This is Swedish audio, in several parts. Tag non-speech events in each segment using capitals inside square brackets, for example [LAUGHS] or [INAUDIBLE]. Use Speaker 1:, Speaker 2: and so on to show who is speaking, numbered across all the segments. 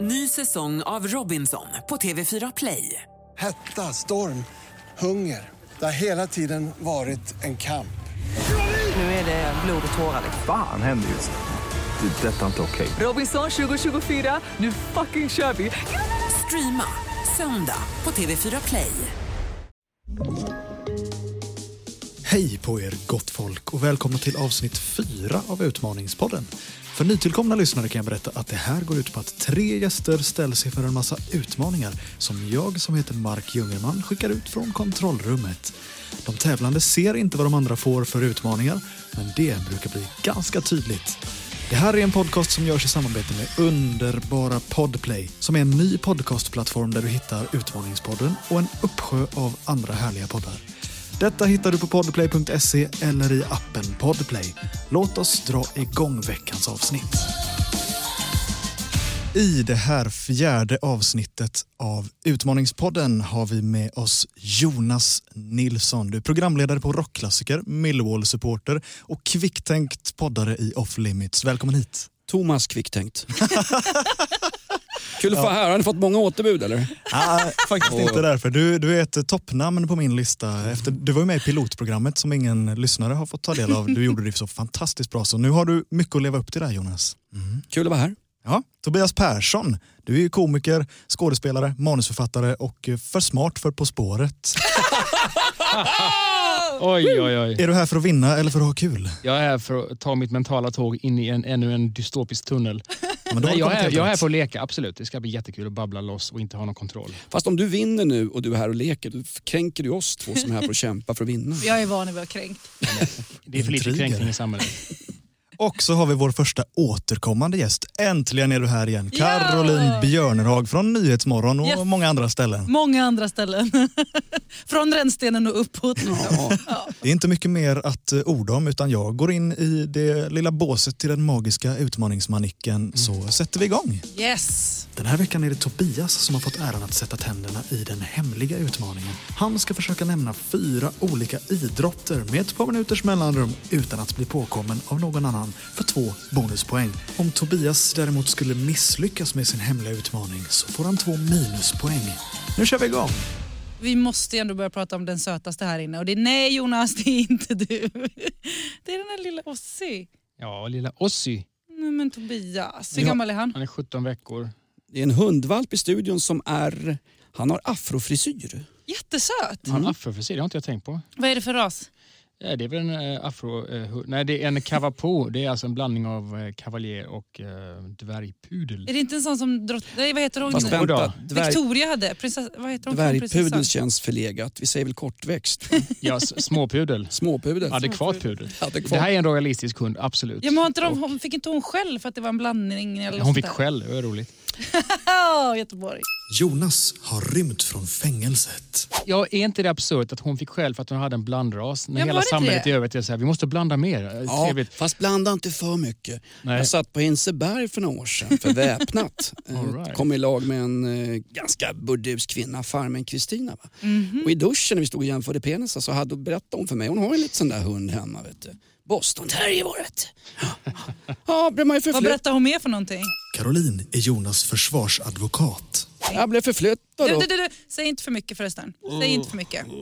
Speaker 1: Ny säsong av Robinson på TV4 Play.
Speaker 2: Hetta, storm, hunger. Det har hela tiden varit en kamp.
Speaker 1: Nu är det blod och tårar.
Speaker 3: Fan händer just nu. Det. är Detta är inte okej.
Speaker 1: Robinson 2024, nu fucking kör vi! Streama söndag på TV4 Play.
Speaker 4: Hej på er gott folk och välkomna till avsnitt 4 av Utmaningspodden. För nytillkomna lyssnare kan jag berätta att det här går ut på att tre gäster ställs inför en massa utmaningar som jag som heter Mark Jungerman skickar ut från kontrollrummet. De tävlande ser inte vad de andra får för utmaningar, men det brukar bli ganska tydligt. Det här är en podcast som görs i samarbete med underbara Podplay som är en ny podcastplattform där du hittar Utmaningspodden och en uppsjö av andra härliga poddar. Detta hittar du på podplay.se eller i appen Podplay. Låt oss dra igång veckans avsnitt. I det här fjärde avsnittet av Utmaningspodden har vi med oss Jonas Nilsson. Du är programledare på Rockklassiker, Millwall-supporter och kvicktänkt poddare i Off Limits. Välkommen hit.
Speaker 5: Thomas
Speaker 6: [LAUGHS]
Speaker 5: Kvicktänkt. Kul att få vara här. Har ni fått många återbud eller?
Speaker 4: Ah, faktiskt inte därför. Du, du är ett toppnamn på min lista. Efter, du var ju med i pilotprogrammet som ingen lyssnare har fått ta del av. Du gjorde det så fantastiskt bra så nu har du mycket att leva upp till där Jonas.
Speaker 5: Kul att vara här.
Speaker 4: Ja, Tobias Persson. Du är ju komiker, skådespelare, manusförfattare och eh, för smart för På spåret.
Speaker 6: Oj, oj, oj.
Speaker 4: Är du här för att vinna eller för att ha kul?
Speaker 6: Jag är här för att ta mitt mentala tåg in i en, ännu en dystopisk tunnel.
Speaker 4: Ja, men då har
Speaker 6: Nej,
Speaker 4: du
Speaker 6: jag,
Speaker 4: kommit
Speaker 6: är,
Speaker 4: helt
Speaker 6: jag är här
Speaker 4: rätt.
Speaker 6: för att leka, absolut. Det ska bli jättekul att babbla loss och inte ha någon kontroll.
Speaker 5: Fast om du vinner nu och du är här och leker, då kränker du oss två som är här för att kämpa för att vinna.
Speaker 7: Jag är van vid att vara kränkt.
Speaker 6: Det är för lite
Speaker 4: Intriger.
Speaker 6: kränkning i samhället.
Speaker 4: Och så har vi vår första återkommande gäst. Äntligen är du här igen.
Speaker 7: Ja!
Speaker 4: Caroline Björnerhag från Nyhetsmorgon och
Speaker 7: Yes.
Speaker 4: många andra ställen.
Speaker 7: Många andra ställen. [LAUGHS] Från rännstenen och uppåt.
Speaker 5: Ja.
Speaker 4: Det är inte mycket mer att eh, orda om utan jag går in i det lilla båset till den magiska utmaningsmanicken så sätter vi igång.
Speaker 7: [LAUGHS] Yes!
Speaker 4: Mm. Den här veckan är det Tobias som har fått äran att sätta tänderna i den hemliga utmaningen. Han ska försöka nämna fyra olika idrotter med ett par minuters mellanrum utan att bli påkommen av någon annan för två bonuspoäng. Om Tobias däremot skulle misslyckas med sin hemliga utmaning så får han två minuspoäng. Nu kör vi igång!
Speaker 7: Vi måste ju ändå börja prata om den sötaste här inne. Och det är nej Jonas, det är inte du. [LAUGHS] Det är den där lilla Ossi.
Speaker 6: Ja, lilla Ossi.
Speaker 7: Nej men Tobias, hur
Speaker 6: Ja.
Speaker 7: gammal är han?
Speaker 6: Han är 17 veckor.
Speaker 5: Det är en hundvalp i studion som är... Han har afrofrisyr.
Speaker 7: Jättesöt.
Speaker 6: Har han afrofrisyr? Det har inte jag tänkt på.
Speaker 7: Vad är det för ras?
Speaker 6: Ja, det är väl en eh, afro... Eh, hu- nej, det är en cavapo. Det är alltså en blandning av eh, kavaljer och eh, dvärgpudel.
Speaker 7: Är det inte en sån som drott... Nej vad heter hon?
Speaker 5: Fast
Speaker 6: vem-
Speaker 5: vänta, dvärg,
Speaker 7: Victoria hade. Prinsess... Vad heter hon?
Speaker 5: dvärgpudel
Speaker 7: Prinsessan.
Speaker 5: känns förlegat. Vi säger väl kortväxt?
Speaker 6: [LAUGHS] Ja, s- småpudel.
Speaker 5: Småpudel?
Speaker 6: Adekvat pudel. Det här
Speaker 5: Adekvat.
Speaker 6: är en royalistisk hund, absolut.
Speaker 7: Ja, men har inte de, hon, fick inte hon själv för att det var en blandning? Eller
Speaker 6: Hon
Speaker 7: sånt
Speaker 6: fick
Speaker 7: där?
Speaker 6: skäll, det var roligt.
Speaker 7: Ja, Göteborg.
Speaker 4: Jonas har rymt från fängelset.
Speaker 6: Ja, är inte det absurt att hon fick skäll för att hon hade en blandras? När
Speaker 7: Ja, var
Speaker 6: hela
Speaker 7: det
Speaker 6: samhället
Speaker 7: det?
Speaker 6: i övrigt är så här, vi måste blanda mer. Ja.
Speaker 5: Ja,
Speaker 6: Trevligt.
Speaker 5: fast blanda inte för mycket.
Speaker 6: Nej.
Speaker 5: Jag satt på Hinseberg för några år sedan
Speaker 6: [LAUGHS]
Speaker 5: för väpnat. Eh,
Speaker 6: All right.
Speaker 5: Kom i lag med en eh, ganska burdus kvinna, farmen Kristina. Va?
Speaker 7: Mhm.
Speaker 5: Och i duschen när vi stod och jämförde penisar så hade, berättade hon för mig, hon har en liten sån där hund hemma. Vet du. Boston Terrier vet
Speaker 7: [LAUGHS]
Speaker 5: du. Ja, blev man ju
Speaker 7: Vad
Speaker 5: förflytt...
Speaker 7: berättar hon mer för någonting?
Speaker 4: Caroline är Jonas försvarsadvokat.
Speaker 5: Jag blev förflyttad.
Speaker 7: Du,
Speaker 5: då.
Speaker 7: du, du, du. Säg inte för mycket förresten. Säg inte för mycket.
Speaker 5: Mm.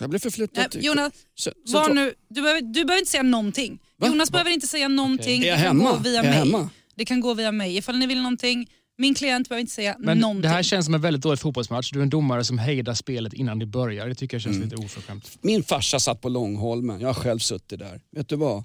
Speaker 5: Jag blev förflyttad.
Speaker 7: Nej, Jonas,
Speaker 5: Så- så-
Speaker 7: var nu, du, behöver, du behöver inte säga någonting. Jonas behöver inte säga någonting.
Speaker 5: Är jag
Speaker 7: Det kan
Speaker 5: hemma?
Speaker 7: gå via
Speaker 5: Är jag
Speaker 7: mig.
Speaker 5: hemma?
Speaker 7: Det kan gå via mig ifall ni vill någonting. Min klient behöver inte säga
Speaker 6: Men
Speaker 7: någonting.
Speaker 6: det här känns som en väldigt dålig fotbollsmatch. Du är en domare som hejdar spelet innan det börjar. Det tycker jag
Speaker 5: Mm.
Speaker 6: känns lite oförskämt.
Speaker 5: Min farsa satt på Långholmen, jag har själv suttit där. Vet du vad?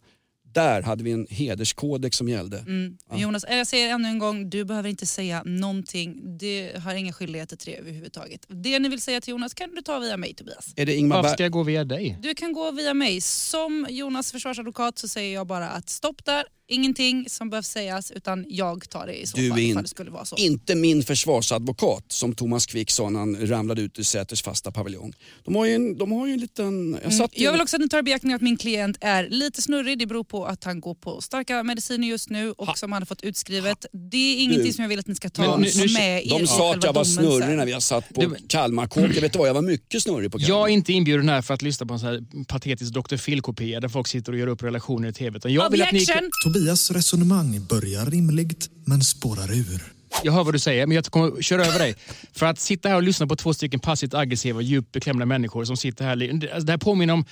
Speaker 5: Där hade vi en hederskodex som gällde.
Speaker 7: Men Jonas, eh, jag säger ännu en gång, du behöver inte säga någonting. Du har inga skyldigheter till det överhuvudtaget. Det ni vill säga till Jonas kan du ta via mig Tobias.
Speaker 5: Är det Ingmar
Speaker 6: Varför
Speaker 5: Berg?
Speaker 6: ska jag gå via dig?
Speaker 7: Du kan gå via mig. Som Jonas försvarsadvokat så säger jag bara att stopp där. Ingenting som behövs sägas utan jag tar det i så
Speaker 5: Du
Speaker 7: fall
Speaker 5: är in-
Speaker 7: ifall det skulle vara så.
Speaker 5: Inte min försvarsadvokat som Thomas Quick sa när han ramlade ut ur Säters fasta paviljong. De har ju en, de har ju en liten... Jag satt ju-
Speaker 7: Mm. Jag vill också att ni tar i beaktning att min klient är lite snurrig. Det beror på att han går på starka mediciner just nu och som han har fått utskrivet. Det är ingenting som jag vill att ni ska ta
Speaker 6: Men nu- nu-
Speaker 7: med er i
Speaker 5: de sa att
Speaker 7: själva
Speaker 5: jag var
Speaker 7: domen
Speaker 5: snurrig
Speaker 7: sen.
Speaker 5: när vi har satt på
Speaker 6: Du-
Speaker 7: [CLEARS THROAT]
Speaker 5: Kalmarkåken. Vet du vad, jag var mycket snurrig på
Speaker 6: Jag är
Speaker 5: Kalmar.
Speaker 6: inte inbjuden här för att lyssna på en sån här patetisk Dr. Phil-kopia där folk sitter och gör upp
Speaker 5: [CLEARS THROAT]
Speaker 6: relationer i tv. Utan jag vill att ni...
Speaker 7: Objection!
Speaker 4: Tobias resonemang börjar rimligt men spårar ur.
Speaker 6: Jag hör vad du säger, men jag kommer köra över dig. För att sitta här och lyssna på två stycken passivt aggressiva, djupt beklämda människor som sitter här. li- Alltså, Det här påminner om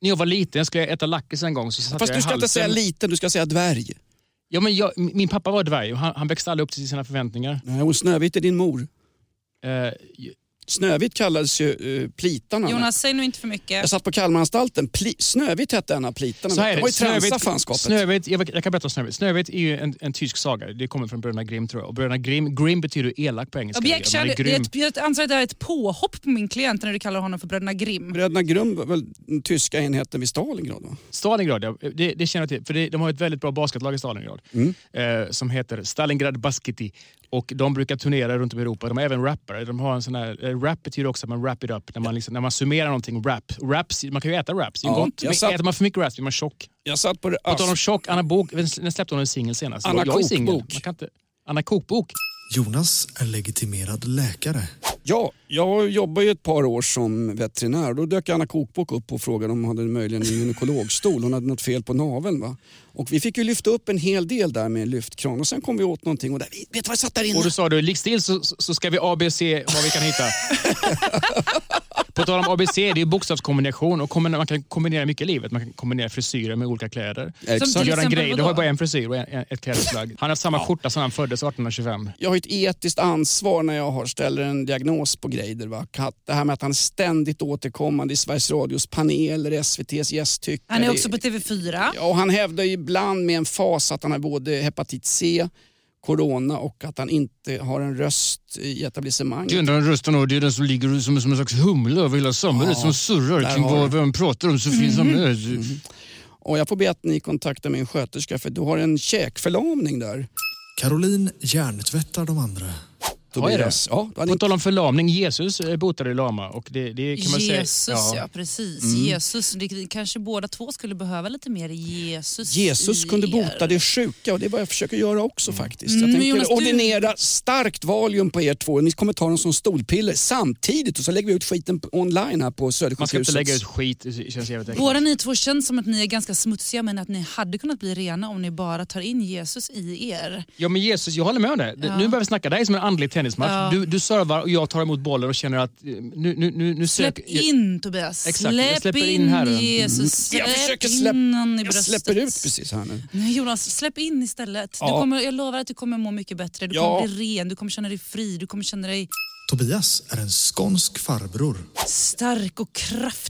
Speaker 6: när jag var liten, jag skulle äta lakrits en gång. Så satt
Speaker 5: Fast
Speaker 6: jag
Speaker 5: du
Speaker 6: i
Speaker 5: ska inte
Speaker 6: halsen.
Speaker 5: säga liten, du ska säga dvärg.
Speaker 6: Ja, men jag, min min pappa var dvärg och han, han växte aldrig upp till sina förväntningar.
Speaker 5: Nej, och Snövit är din mor.
Speaker 6: Eh,
Speaker 5: Snövit kallades ju eh, plitarna.
Speaker 7: Jonas, säg nu inte för
Speaker 5: Jag
Speaker 7: mycket.
Speaker 5: satt på Kalmaranstalten. Pli, Snövit hette en av plitarna.
Speaker 6: så här är
Speaker 5: de var
Speaker 6: det.
Speaker 5: ju tränsa
Speaker 6: Snövit,
Speaker 5: fanskapet.
Speaker 6: Snövit, jag, jag kan berätta om Snövit. Snövit är ju en, en tysk saga. Det kommer från Bröderna Grimm tror jag. Och Bröderna Grimm, Grimm betyder elak på engelska.
Speaker 7: Jag, bjäxar,
Speaker 6: Man är grym.
Speaker 7: jag, jag anser att det här är ett påhopp på min klient när du kallar honom för Bröderna Grimm.
Speaker 5: Bröderna Grum var väl den tyska enheten vid Stalingrad? Va?
Speaker 6: Stalingrad, ja, det, det känner jag till. För det, de har ett väldigt bra basketlag i Stalingrad.
Speaker 5: Mm.
Speaker 6: Eh, som heter Stalingrad Basketi. Och de brukar turnera runt om i Europa. De är även rappare. De har en sån här, eh, rap betyder också att man wrap it up. När man, liksom, när man summerar någonting, rap. Raps, man kan ju äta raps, det är ju
Speaker 5: Ja,
Speaker 6: gott.
Speaker 5: jag
Speaker 6: Men
Speaker 5: satt-
Speaker 6: äter man för mycket raps blir man tjock.
Speaker 5: Jag satt på det...
Speaker 6: På tal om tjock, Anna Bok, när släppte hon en singel senast?
Speaker 5: Anna
Speaker 6: jag är singel.
Speaker 5: Kokbok.
Speaker 6: Man kan inte... Anna Kokbok.
Speaker 4: Jonas är legitimerad läkare.
Speaker 5: Ja, jag jobbade ju ett par år som veterinär och då dök Anna Kokbok upp och frågade om hon hade möjligen en gynekologstol. Hon hade något fel på naveln. Va? Och vi fick ju lyfta upp en hel del där med en lyftkran och sen kom vi åt någonting och där, vet du vad jag satt där inne?
Speaker 6: Och då sa du, ligg still så, så ska vi ABC vad vi kan [LAUGHS] hitta. På tal om ABC, det är ju bokstavskombination och kombina- man kan kombinera mycket i livet. Man kan kombinera frisyrer med olika kläder.
Speaker 5: Exakt.
Speaker 7: Som till
Speaker 6: Göran
Speaker 7: exempel
Speaker 6: Greider
Speaker 7: vadå?
Speaker 6: har ju bara en frisyr och en, en- ett klädesplagg. Han har haft samma skjorta sedan han föddes 1825.
Speaker 5: jag har ett etiskt ansvar när jag har, ställer en diagnos på Greider. Va? Att Det här med att han är ständigt återkommande i Sveriges Radios paneler, SVTs gästtyckare.
Speaker 7: Han är också på TV4.
Speaker 5: Ja, och han hävdar ju ibland med en fas att han har både hepatit C, corona och att han inte har en röst i etablissemanget.
Speaker 6: Det enda han röstar nog det är den som ligger som, som en slags humle över hela samhället som surrar kring vad vem pratar om så finns eh, han med.
Speaker 5: Och jag får be att ni kontaktar min sköterska för du har en käkförlamning där.
Speaker 4: Caroline hjärntvättar de andra.
Speaker 5: Tobias. Ja, du hade
Speaker 6: På
Speaker 5: inte...
Speaker 6: tal om förlamning, Jesus eh, botade lama och det, det kan man säga...
Speaker 7: Jesus, ja. precis.
Speaker 5: Mm.
Speaker 7: Jesus. Det, vi kanske båda två skulle behöva lite mer Jesus
Speaker 5: Jesus
Speaker 7: i
Speaker 5: kunde
Speaker 7: er.
Speaker 5: bota det sjuka och det är vad jag försöker göra också faktiskt. Jag
Speaker 7: Mm, men
Speaker 5: tänker
Speaker 7: Jonas, du-
Speaker 5: ordinera starkt Valium på er två. Ni kommer ta dem som stolpiller samtidigt och så lägger vi ut skiten på- online här på
Speaker 6: Man ska inte
Speaker 5: Södersjukhuset.
Speaker 6: lägga ut skit, det känns jävligt äckligt.
Speaker 7: Båda ni två känns som att ni är ganska smutsiga men att ni hade kunnat bli rena om ni bara tar in Jesus i er.
Speaker 6: Ja men Jesus, jag håller med om det. Nu börjar vi snacka. Det här är som en andlig tennismatch.
Speaker 7: Ja.
Speaker 6: Du, du servar och jag tar emot bollen och känner att eh, nu, nu, nu, nu
Speaker 7: Släpp
Speaker 6: söker...
Speaker 7: in Tobias.
Speaker 6: Exakt, jag
Speaker 7: släpp
Speaker 6: släpper in
Speaker 7: in
Speaker 6: här.
Speaker 7: Jesus. Släpp
Speaker 5: Jag försöker
Speaker 7: in
Speaker 5: släpp-
Speaker 7: honom i
Speaker 5: Jag
Speaker 7: bröstet.
Speaker 5: släpper ut precis här nu.
Speaker 7: Nej Jonas, släpp in istället. Du
Speaker 5: Ja.
Speaker 7: kommer, jag lovar att du kommer må mycket bättre. Du
Speaker 5: Ja.
Speaker 7: kommer bli ren, du kommer känna dig fri, du kommer känna dig
Speaker 4: Tobias är en skånsk farbror.
Speaker 7: stark och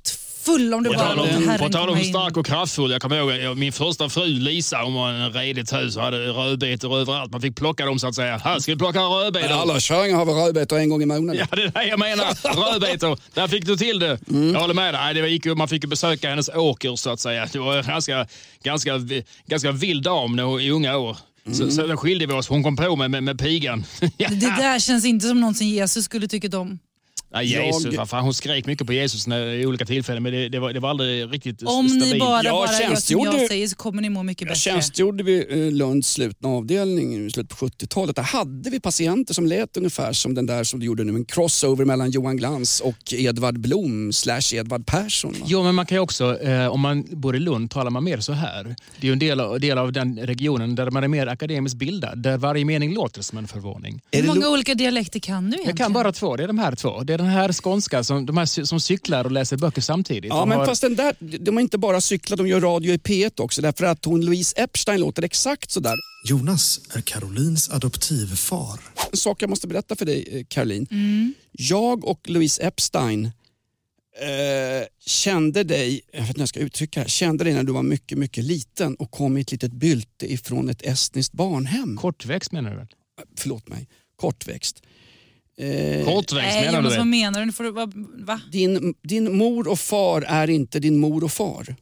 Speaker 7: kraftfull om du bara låter Herren
Speaker 8: På tal om
Speaker 7: komma in.
Speaker 8: stark och kraftfull. Jag kommer ihåg jag- min första fru Lisa, hon var en redigt hus och hade rödbetor överallt. Man fick plocka dem så att säga. Här ska vi plocka rödbetor.
Speaker 5: Alla kärringar har väl rödbetor en gång i månaden.
Speaker 8: [LAUGHS] Ja, det är det jag menar. Rödbetor. Där fick du till det. Jag håller med dig. Nej, Det gick, ju- man fick ju besöka hennes åker så att säga. Det var en ganska, ganska, vi- ganska vild dam när hon, i unga år. Så, så då skilde vi oss. Hon kom på mig med, med pigan. [LAUGHS] Ja.
Speaker 7: Mm. Det där känns inte som någonting Jesus skulle tycka om.
Speaker 8: Nej, Jesus,
Speaker 5: Jag-
Speaker 8: vad fan, hon skrek mycket på Jesus när, i olika tillfällen, men det, det, var, det var aldrig riktigt st-
Speaker 7: Om ni
Speaker 8: stabilt.
Speaker 7: bara,
Speaker 5: Jag
Speaker 7: bara gör som
Speaker 5: tjänstgjorde-
Speaker 7: jag säger så kommer ni må mycket
Speaker 5: Jag
Speaker 7: bättre.
Speaker 5: tjänstgjorde vid eh, Lunds slutna avdelning i slutet på 70-talet. Där hade vi patienter som lät ungefär som den där som du gjorde nu, en crossover mellan Johan Glans och Edvard Blom slash Edvard Persson. Va?
Speaker 6: Ja, men man kan ju också, eh, om man bor i Lund, talar man mer så här. Det är ju en del av, del av den regionen där man är mer akademiskt bildad, där varje mening låter som en förvåning.
Speaker 5: Är
Speaker 7: Hur
Speaker 5: det
Speaker 7: många
Speaker 5: Lo-
Speaker 7: olika dialekter kan du
Speaker 6: Jag
Speaker 7: egentligen?
Speaker 6: kan bara två, det är de här två. Det är den här skånska, som, de här cy- som cyklar och läser böcker samtidigt.
Speaker 5: Ja,
Speaker 6: De
Speaker 5: men
Speaker 6: har-
Speaker 5: fast den där, de har inte bara cyklat, de gör radio i P1 också. Därför att hon Louise Epstein låter exakt sådär.
Speaker 4: Jonas är Carolines adoptivfar.
Speaker 5: En sak jag måste berätta för dig, eh, Caroline. Jag och Louise Epstein eh, kände dig, jag vet inte hur jag ska uttrycka det här, kände dig när du var mycket, mycket liten och kom i ett litet bylte ifrån ett estniskt barnhem.
Speaker 6: Kortväxt menar du väl?
Speaker 5: förlåt mig, kortväxt. Eh,
Speaker 8: Kortväxt
Speaker 7: Nej
Speaker 8: menar du
Speaker 7: Jonas, vad
Speaker 8: det?
Speaker 7: menar du? Nu får du va? va?
Speaker 5: din, din mor och far är inte din mor och far.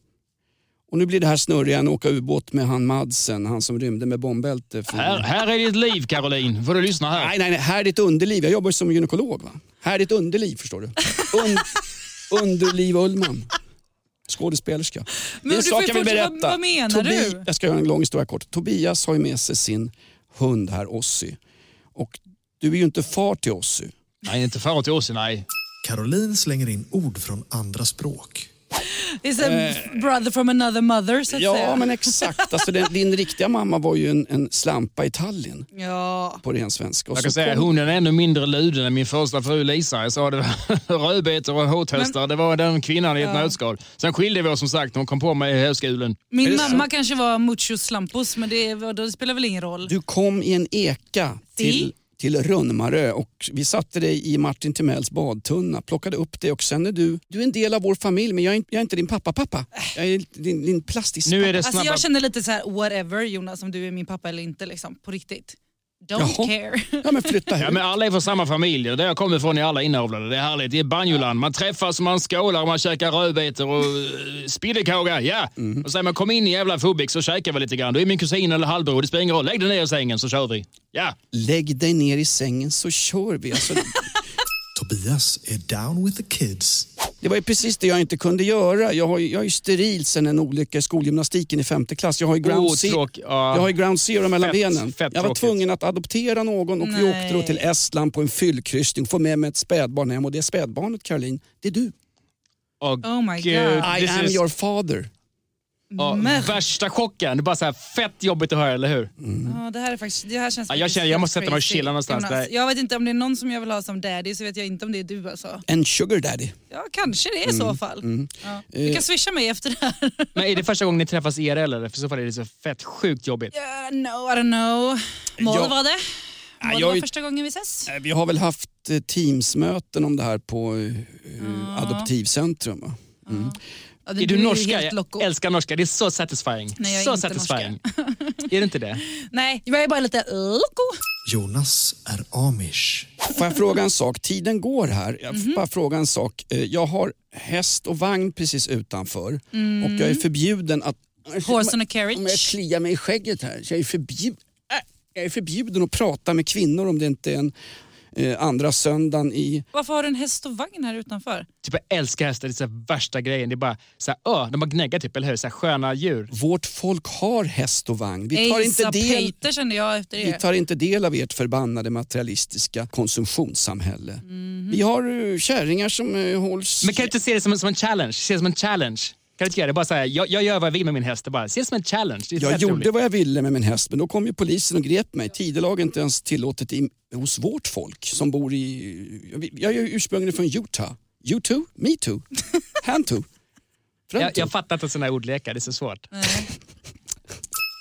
Speaker 5: Och nu blir det här snurriga än att åka ubåt med han Madsen, han som rymde med bombbälte. från-
Speaker 8: Här, här är ditt liv, Caroline. Får du lyssna här.
Speaker 5: Nej, nej, nej, här är ditt underliv. Jag jobbar ju som gynekolog. Va? Här är ditt underliv, förstår du.
Speaker 7: [LAUGHS]
Speaker 5: Und, underliv Ullman. Skådespelerska. det
Speaker 7: Men
Speaker 5: är
Speaker 7: du
Speaker 5: en
Speaker 7: får
Speaker 5: sak
Speaker 7: ju
Speaker 5: jag vill
Speaker 7: fortsätta.
Speaker 5: berätta.
Speaker 7: Vad menar du?
Speaker 5: Jag ska göra en lång historia kort. Tobias har ju med sig sin hund här, Ossi. Och du är ju inte far till Ossi.
Speaker 8: Nej, inte far till oss, nej.
Speaker 4: Caroline slänger in ord från andra språk.
Speaker 7: It's a
Speaker 6: Eh.
Speaker 7: brother from another mother så att
Speaker 5: Ja,
Speaker 7: säga.
Speaker 5: men exakt. Alltså, den, din riktiga mamma var ju en, en slampa i Tallinn
Speaker 7: Ja.
Speaker 5: på ren svenska. Och
Speaker 6: Jag
Speaker 5: så
Speaker 6: kan säga
Speaker 5: kom-
Speaker 6: hunden är ännu mindre luden än min första fru Lisa. Jag sa det var [LAUGHS] rödbetor och hårtestar. Det var den kvinnan i ett nötskal. Sen skilde vi oss som sagt. Hon kom på mig i högskolan.
Speaker 7: Min mamma kanske var muchos slampos men det, var- det spelar väl ingen roll.
Speaker 5: Du kom i en eka
Speaker 7: Si.
Speaker 5: till, till Rönnmarö och vi satte dig i Martin Timells badtunna, plockade upp dig och sen är du, du är en del av vår familj men jag är, inte- jag är inte din pappa-pappa. Jag är din, din plastisk
Speaker 6: Nu är det
Speaker 7: Alltså
Speaker 6: snabba...
Speaker 7: jag känner lite så här: whatever Jonas om du är min pappa eller inte liksom, på riktigt. Don't
Speaker 5: Jaha.
Speaker 7: care.
Speaker 5: Ja men flytta
Speaker 6: Ja,
Speaker 5: hem.
Speaker 6: men alla är från samma familj och där jag kommer ifrån är alla inavlade. Det är härligt. Det är banjoland. Man träffas, man skålar, man käkar rödbetor och eh, spindelkåga. Ja!
Speaker 5: Mm.
Speaker 6: Och säger man kom in i jävla Fubik så käkar vi lite grann. Du är min kusin eller halvbror. Det spelar ingen roll. Lägg dig ner i sängen så kör vi. Ja!
Speaker 5: Lägg dig ner i sängen så kör vi. Alltså,
Speaker 4: Tobias är down with the kids.
Speaker 5: det var ju precis det jag inte kunde göra. Jag, har, ju- jag är ju steril sen en olycka i skolgymnastiken i femte klass. Jag har ju ground,
Speaker 6: Oh,
Speaker 5: ze-
Speaker 6: tråk- ja.
Speaker 5: jag har ju ground zero mellan
Speaker 6: Fett-
Speaker 5: benen.
Speaker 6: fett
Speaker 5: jag var
Speaker 6: tråkigt.
Speaker 5: tvungen att adoptera någon och vi
Speaker 7: Nej.
Speaker 5: åkte då till Estland på en fyllkryssning. Få med mig ett spädbarn hem och det spädbarnet Caroline, det är du.
Speaker 6: Och,
Speaker 7: Oh my God.
Speaker 6: eh,
Speaker 5: I
Speaker 6: this
Speaker 5: am
Speaker 6: is-
Speaker 5: your father.
Speaker 6: ja,
Speaker 7: Märk.
Speaker 6: Värsta chocken. Det är bara så här fett jobbigt att höra, eller hur?
Speaker 7: [LAUGHS] Ja, det här är faktiskt, det här känns
Speaker 6: Ja, jag
Speaker 7: faktiskt
Speaker 6: känner- jag
Speaker 7: helt
Speaker 6: måste sätta mig och
Speaker 7: crazy.
Speaker 6: chilla någonstans.
Speaker 7: Jonas,
Speaker 6: Det-
Speaker 7: Jag vet inte om det är någon som jag vill ha som daddy så vet jag inte om det är du alltså.
Speaker 5: En sugar daddy.
Speaker 7: Ja kanske det är i
Speaker 6: Mm,
Speaker 7: så fall.
Speaker 6: Eh.
Speaker 7: Ja. Du kan swisha mig efter det här.
Speaker 6: Men är det första gången ni träffas IRL eller? För i så fall är det så fett sjukt jobbigt.
Speaker 7: Uh, no, I don't know. Mål
Speaker 5: Ja.
Speaker 7: var det. Mål
Speaker 5: jag
Speaker 7: var
Speaker 5: är-
Speaker 7: första gången vi ses.
Speaker 5: Eh, Vi har väl haft eh, Teamsmöten om det här på eh, Adoptivcentrum. Va?
Speaker 7: Ja,
Speaker 6: Är du,
Speaker 7: ju
Speaker 6: norska?
Speaker 7: helt loco.
Speaker 6: Jag älskar norska. Det är så satisfying.
Speaker 7: Nej, jag är
Speaker 6: så
Speaker 7: inte
Speaker 6: satisfying. är det inte
Speaker 7: [LAUGHS]
Speaker 6: det?
Speaker 7: Nej, jag är bara lite loco.
Speaker 4: Jonas är amish.
Speaker 5: Får jag fråga en sak? Tiden går här. Jag får
Speaker 7: Mhm.
Speaker 5: bara fråga en sak. Eh, Jag har häst och vagn precis utanför och jag är förbjuden att...
Speaker 7: Mm. Horse and a
Speaker 5: Om jag
Speaker 7: carriage.
Speaker 5: kliar mig i skägget här. så Jag är, förbjud... Äh, jag är förbjuden att prata med kvinnor om det inte är en eh, andra söndagen i...
Speaker 7: Varför har du en häst och vagn här utanför?
Speaker 6: Typ jag älskar hästar, det är så här värsta grejen. Det är bara så här, ö, de bara gnäggar typ, eller hur? Så här, sköna djur.
Speaker 5: Vårt folk har häst och vagn. Vi tar inte
Speaker 7: Asa
Speaker 5: del...
Speaker 7: Peter kände jag efter
Speaker 5: Vi
Speaker 7: det.
Speaker 5: tar inte del av ert förbannade materialistiska konsumtionssamhälle.
Speaker 7: Mhm.
Speaker 5: Vi har uh, kärringar som uh, hålls...
Speaker 6: Men kan du inte se det som, en- som en challenge? Se det som en challenge. Kan du inte göra det? Bara så här, jag, jag gör vad jag vill med min häst. Det bara, se det som en challenge. Det är
Speaker 5: jag
Speaker 6: fett
Speaker 5: gjorde
Speaker 6: roligt.
Speaker 5: vad jag ville med min häst men då kom ju polisen och grep mig. Tidelag är inte ens tillåtet i, hos vårt folk som bor i... Jag är ju ursprungligen från Utah. You too, me
Speaker 7: [LAUGHS]
Speaker 5: too, han too. Fram
Speaker 6: Jag,
Speaker 5: too.
Speaker 6: jag fattar inte sådana här ordlekar, det är så svårt.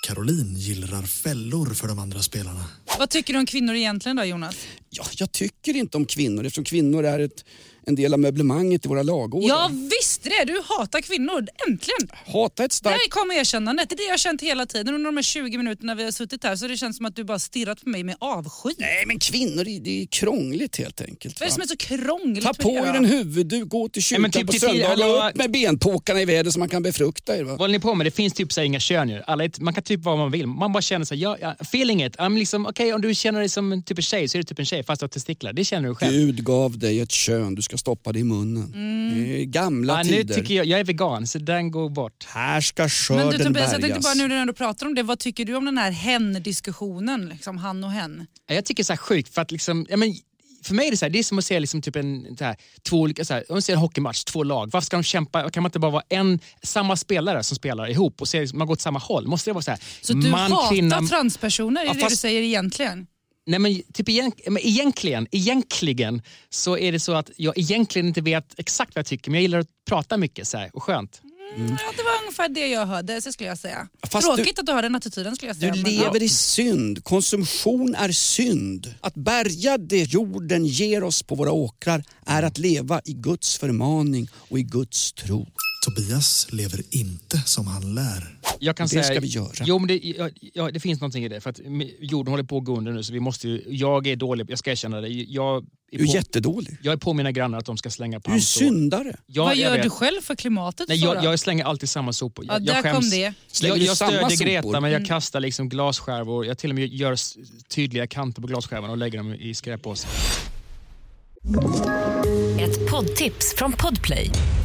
Speaker 4: Caroline gillrar fällor för de andra spelarna.
Speaker 7: Vad tycker du om kvinnor egentligen då Jonas?
Speaker 5: Ja, jag tycker inte om kvinnor eftersom kvinnor är ett, en del av möblemanget i våra lagårdar.
Speaker 7: Jag visste det! Du hatar kvinnor. Äntligen!
Speaker 5: Hatar ett starkt
Speaker 7: Där kom erkännandet. Det är det jag har känt hela tiden under de här 20 minuterna vi har suttit här. Så det känns som att du bara stirrat på mig med avsky.
Speaker 5: Nej men kvinnor, det är- det är krångligt helt enkelt.
Speaker 7: Vad är det
Speaker 5: va?
Speaker 7: som är så krångligt
Speaker 5: Ta
Speaker 7: med
Speaker 5: på
Speaker 7: det?
Speaker 5: er en huvudduk, gå till
Speaker 6: Nej,
Speaker 5: kyrkan
Speaker 6: men typ
Speaker 5: på
Speaker 6: till fyra-
Speaker 5: söndagar och
Speaker 6: alla-
Speaker 5: upp med benpåkarna i väder så man kan befrukta er. Va?
Speaker 6: Vad håller ni på med? Det finns typ så här inga kön ju. Alla, är t- man kan typ vara vad man vill. Man bara känner så här, ja, ja, feeling it. I'm liksom, okej, om du känner dig som en typ en tjej så är du typ en tjej fast du har testiklar. Det känner du själv.
Speaker 5: Gud gav dig ett kön, du ska stoppa det i munnen.
Speaker 7: Mm.
Speaker 5: Det är Gamla
Speaker 6: Ja, nu
Speaker 5: tider.
Speaker 6: tycker jag, jag är vegan så den går bort.
Speaker 5: Här ska skörden
Speaker 7: Men du Tobias, jag tänkte
Speaker 5: bärgas.
Speaker 7: bara nu när du ändå pratar om det, vad tycker du om den här hen-diskussionen? Liksom han och hen.
Speaker 6: Ja, Jag tycker så här sjukt för att liksom, ja, men för mig är det så här, det är som att se liksom typ en, så här, två olika, så här, om man ser en hockeymatch, två lag, varför ska de kämpa? Kan man inte bara vara en, samma spelare som spelar ihop och se, liksom, man går åt samma håll? Måste det vara så här,
Speaker 7: Så du
Speaker 6: man,
Speaker 7: hatar
Speaker 6: kvinna,
Speaker 7: transpersoner, är
Speaker 6: Ja,
Speaker 7: det det du
Speaker 6: fast-
Speaker 7: säger egentligen?
Speaker 6: Nej, men, typ egent, men egentligen, egentligen så är det så att jag egentligen inte vet exakt vad jag tycker men jag gillar att prata mycket så här, och skönt.
Speaker 7: Ja, det var ungefär det jag hörde, så skulle jag säga.
Speaker 5: Fast
Speaker 7: Tråkigt att du har den attityden skulle jag
Speaker 5: Du
Speaker 7: säga. men-
Speaker 5: lever i synd. Konsumtion är synd. Att bärga det jorden ger oss på våra åkrar är att leva i Guds förmaning och i Guds tro.
Speaker 4: Tobias lever inte som han lär.
Speaker 6: Jag kan
Speaker 5: Det
Speaker 6: säga,
Speaker 5: ska vi göra.
Speaker 6: Jo, men det, ja, ja, det finns någonting i det. För att m- jorden håller på att gå under nu så vi måste ju, jag är dålig, jag ska erkänna det. Jag är,
Speaker 5: Du är
Speaker 6: på,
Speaker 5: jättedålig.
Speaker 6: jag är på mina grannar att de ska slänga
Speaker 5: Du är
Speaker 6: pant. och-
Speaker 5: syndare.
Speaker 6: Ja,
Speaker 7: Vad
Speaker 6: jag
Speaker 7: gör
Speaker 6: vet.
Speaker 7: du själv för klimatet?
Speaker 6: Nej,
Speaker 7: så
Speaker 6: jag,
Speaker 7: då?
Speaker 6: jag slänger alltid samma sopor.
Speaker 7: Ja,
Speaker 6: Jag,
Speaker 7: där
Speaker 6: jag skäms.
Speaker 7: kom det. Mm.
Speaker 5: Slänger
Speaker 6: Jag,
Speaker 5: du
Speaker 6: jag
Speaker 5: samma
Speaker 6: stödjer
Speaker 5: sopor?
Speaker 6: Greta men jag kastar liksom glasskärvor. Jag till och med gör s- tydliga kanter på glasskärvorna och lägger dem i skräppåsen.
Speaker 9: Ett poddtips från Podplay.